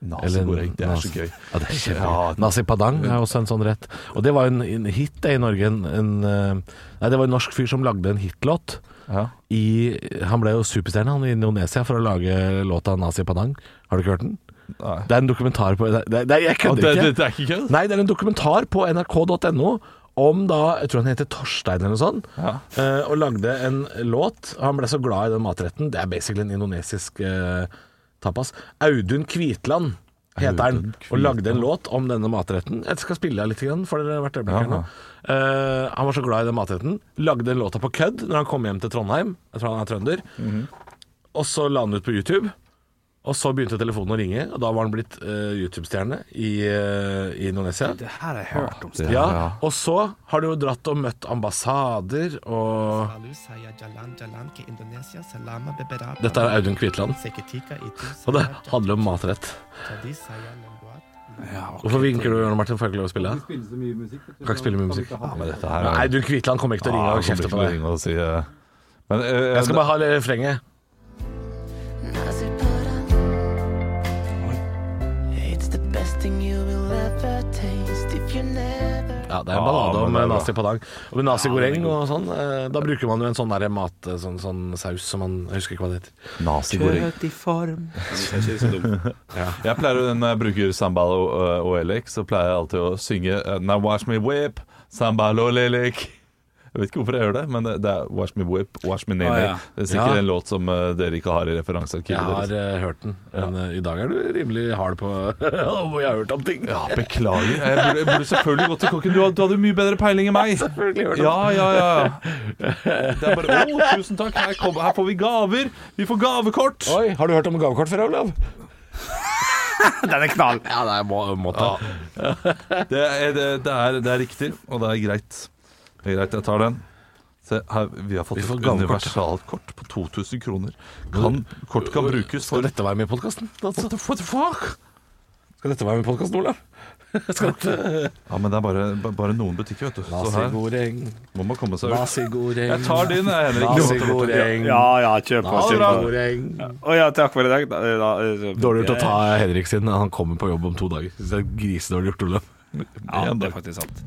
[SPEAKER 4] Eller-
[SPEAKER 3] nasi-goreng. Det er
[SPEAKER 4] nasi-
[SPEAKER 3] så gøy.
[SPEAKER 4] Ja, det er kjempegøy.
[SPEAKER 3] Ja, det-
[SPEAKER 4] Nasi padang er også en sånn rett. Og det var jo en, en hit det, i Norge. En, en, eh, nei, det var en norsk fyr som lagde en hitlåt.
[SPEAKER 3] Ja.
[SPEAKER 4] I, han ble jo superstjerne han i Indonesia for å lage låta Nasi padang. Har du ikke hørt den?
[SPEAKER 3] Nei.
[SPEAKER 4] Det er en dokumentar på det, det, det, Jeg
[SPEAKER 3] Og
[SPEAKER 4] kødder
[SPEAKER 3] det,
[SPEAKER 4] ikke.
[SPEAKER 3] det, det er ikke kødd?
[SPEAKER 4] Nei, det er en dokumentar på nrk.no om da, jeg tror han heter Torstein eller noe sånt,
[SPEAKER 3] Ja.
[SPEAKER 4] eh, og lagde en låt. Han ble så glad i den matretten. Det er basically en indonesisk eh, tapas. Audun Kvitland heter han,
[SPEAKER 3] Audun
[SPEAKER 4] og lagde en
[SPEAKER 3] Kvitland.
[SPEAKER 4] låt om denne matretten. Jeg skal spille av litt grann for dere hvert øyeblikk.
[SPEAKER 3] Ja.
[SPEAKER 4] her nå. Eh, han var så glad i den matretten. Lagde den låta på kødd når han kom hjem til Trondheim. Jeg tror han er trønder. Og så la han ut på YouTube. Og så begynte telefonen å ringe, og da var han blitt eh, YouTube-stjerne i, eh, i Indonesia.
[SPEAKER 10] Det her har jeg hørt om.
[SPEAKER 3] Det-
[SPEAKER 4] Ja, og så har du jo dratt og møtt ambassader og Dette er Audun Kvitland, og det handler om matrett. Hvorfor vinker du, Arne Martin? Får jeg ikke lov å spille?
[SPEAKER 7] Det spilles så mye musikk. vet du,
[SPEAKER 4] Kan ikke spille
[SPEAKER 7] vi
[SPEAKER 4] mye musikk.
[SPEAKER 7] ikke ha-
[SPEAKER 3] Men dette her er-
[SPEAKER 4] Nei, Audun Kvitland kommer ikke til å ringe
[SPEAKER 3] Ja,
[SPEAKER 4] og
[SPEAKER 3] jeg kommer
[SPEAKER 4] kjefte
[SPEAKER 3] ikke
[SPEAKER 4] på
[SPEAKER 3] til å
[SPEAKER 4] deg.
[SPEAKER 3] ringe og si eh, men, eh,
[SPEAKER 4] Jeg skal bare ha refrenget. Ja, det er en
[SPEAKER 3] Ja,
[SPEAKER 4] ballade om
[SPEAKER 3] men det er bra.
[SPEAKER 4] nazi padang. Og med nazi goreng og sånn, eh, da bruker man jo en sånn der mat, sånn, sånn saus som man Jeg husker ikke hva det heter.
[SPEAKER 3] Nazi-goreng.
[SPEAKER 10] i form
[SPEAKER 3] Jeg pleier å- når jeg bruker sambal og, og- og elik, så pleier jeg alltid å synge eh, Now wash me whip, sambal og lelik. Jeg vet ikke hvorfor jeg gjør det, men det det er Wash me whip, wash me nene.
[SPEAKER 10] Å, ja.
[SPEAKER 3] Det er sikkert
[SPEAKER 4] Ja.
[SPEAKER 3] en låt som eh, dere ikke har i referansearkivet
[SPEAKER 4] Jeg har
[SPEAKER 3] deres.
[SPEAKER 4] eh, hørt den, men eh, i dag er du rimelig hard på hvor jeg har hørt om ting.
[SPEAKER 3] Ja, beklager. Jeg burde, jeg burde selvfølgelig gått til kokken. Du, had- du hadde jo mye bedre peiling enn meg.
[SPEAKER 4] Selvfølgelig hørt om
[SPEAKER 3] Ja, ja, ja. Det er bare Å, tusen takk. Her, kom, her får vi gaver. Vi får gavekort.
[SPEAKER 4] Oi, har du hørt om gavekort før, Olav?
[SPEAKER 10] Den er knall.
[SPEAKER 4] Ja, det er må, må ta.
[SPEAKER 3] Det er, det, det, er, det er riktig, og det er greit. Det er greit, jeg tar den. Se, her, vi har fått
[SPEAKER 4] Vi får
[SPEAKER 3] et
[SPEAKER 4] gavekort.
[SPEAKER 3] universalkort på 2000 kroner. Kan, kort kan brukes for
[SPEAKER 4] Skal dette være med i podkasten?
[SPEAKER 3] What the, what the fuck?
[SPEAKER 4] Skal dette være med i podkasten, Olav? Skal dette
[SPEAKER 3] Ja, men det er bare, ba- bare noen butikker, vet du. Så her
[SPEAKER 4] Nasigoreng,
[SPEAKER 3] må man komme seg ut.
[SPEAKER 4] nasigoreng
[SPEAKER 3] Jeg tar din, jeg, Henrik.
[SPEAKER 4] Nasigoreng,
[SPEAKER 10] Ja, ja, kjør på. Kjør på.
[SPEAKER 4] nasigoreng
[SPEAKER 10] Å ja, takk for i dag. Da- da-
[SPEAKER 4] Dårlig gjort å ta Henrik sin. Han kommer på jobb om to dager. Synes Det er grisedårlig gjort, Olav.
[SPEAKER 10] Ja, det er faktisk sant.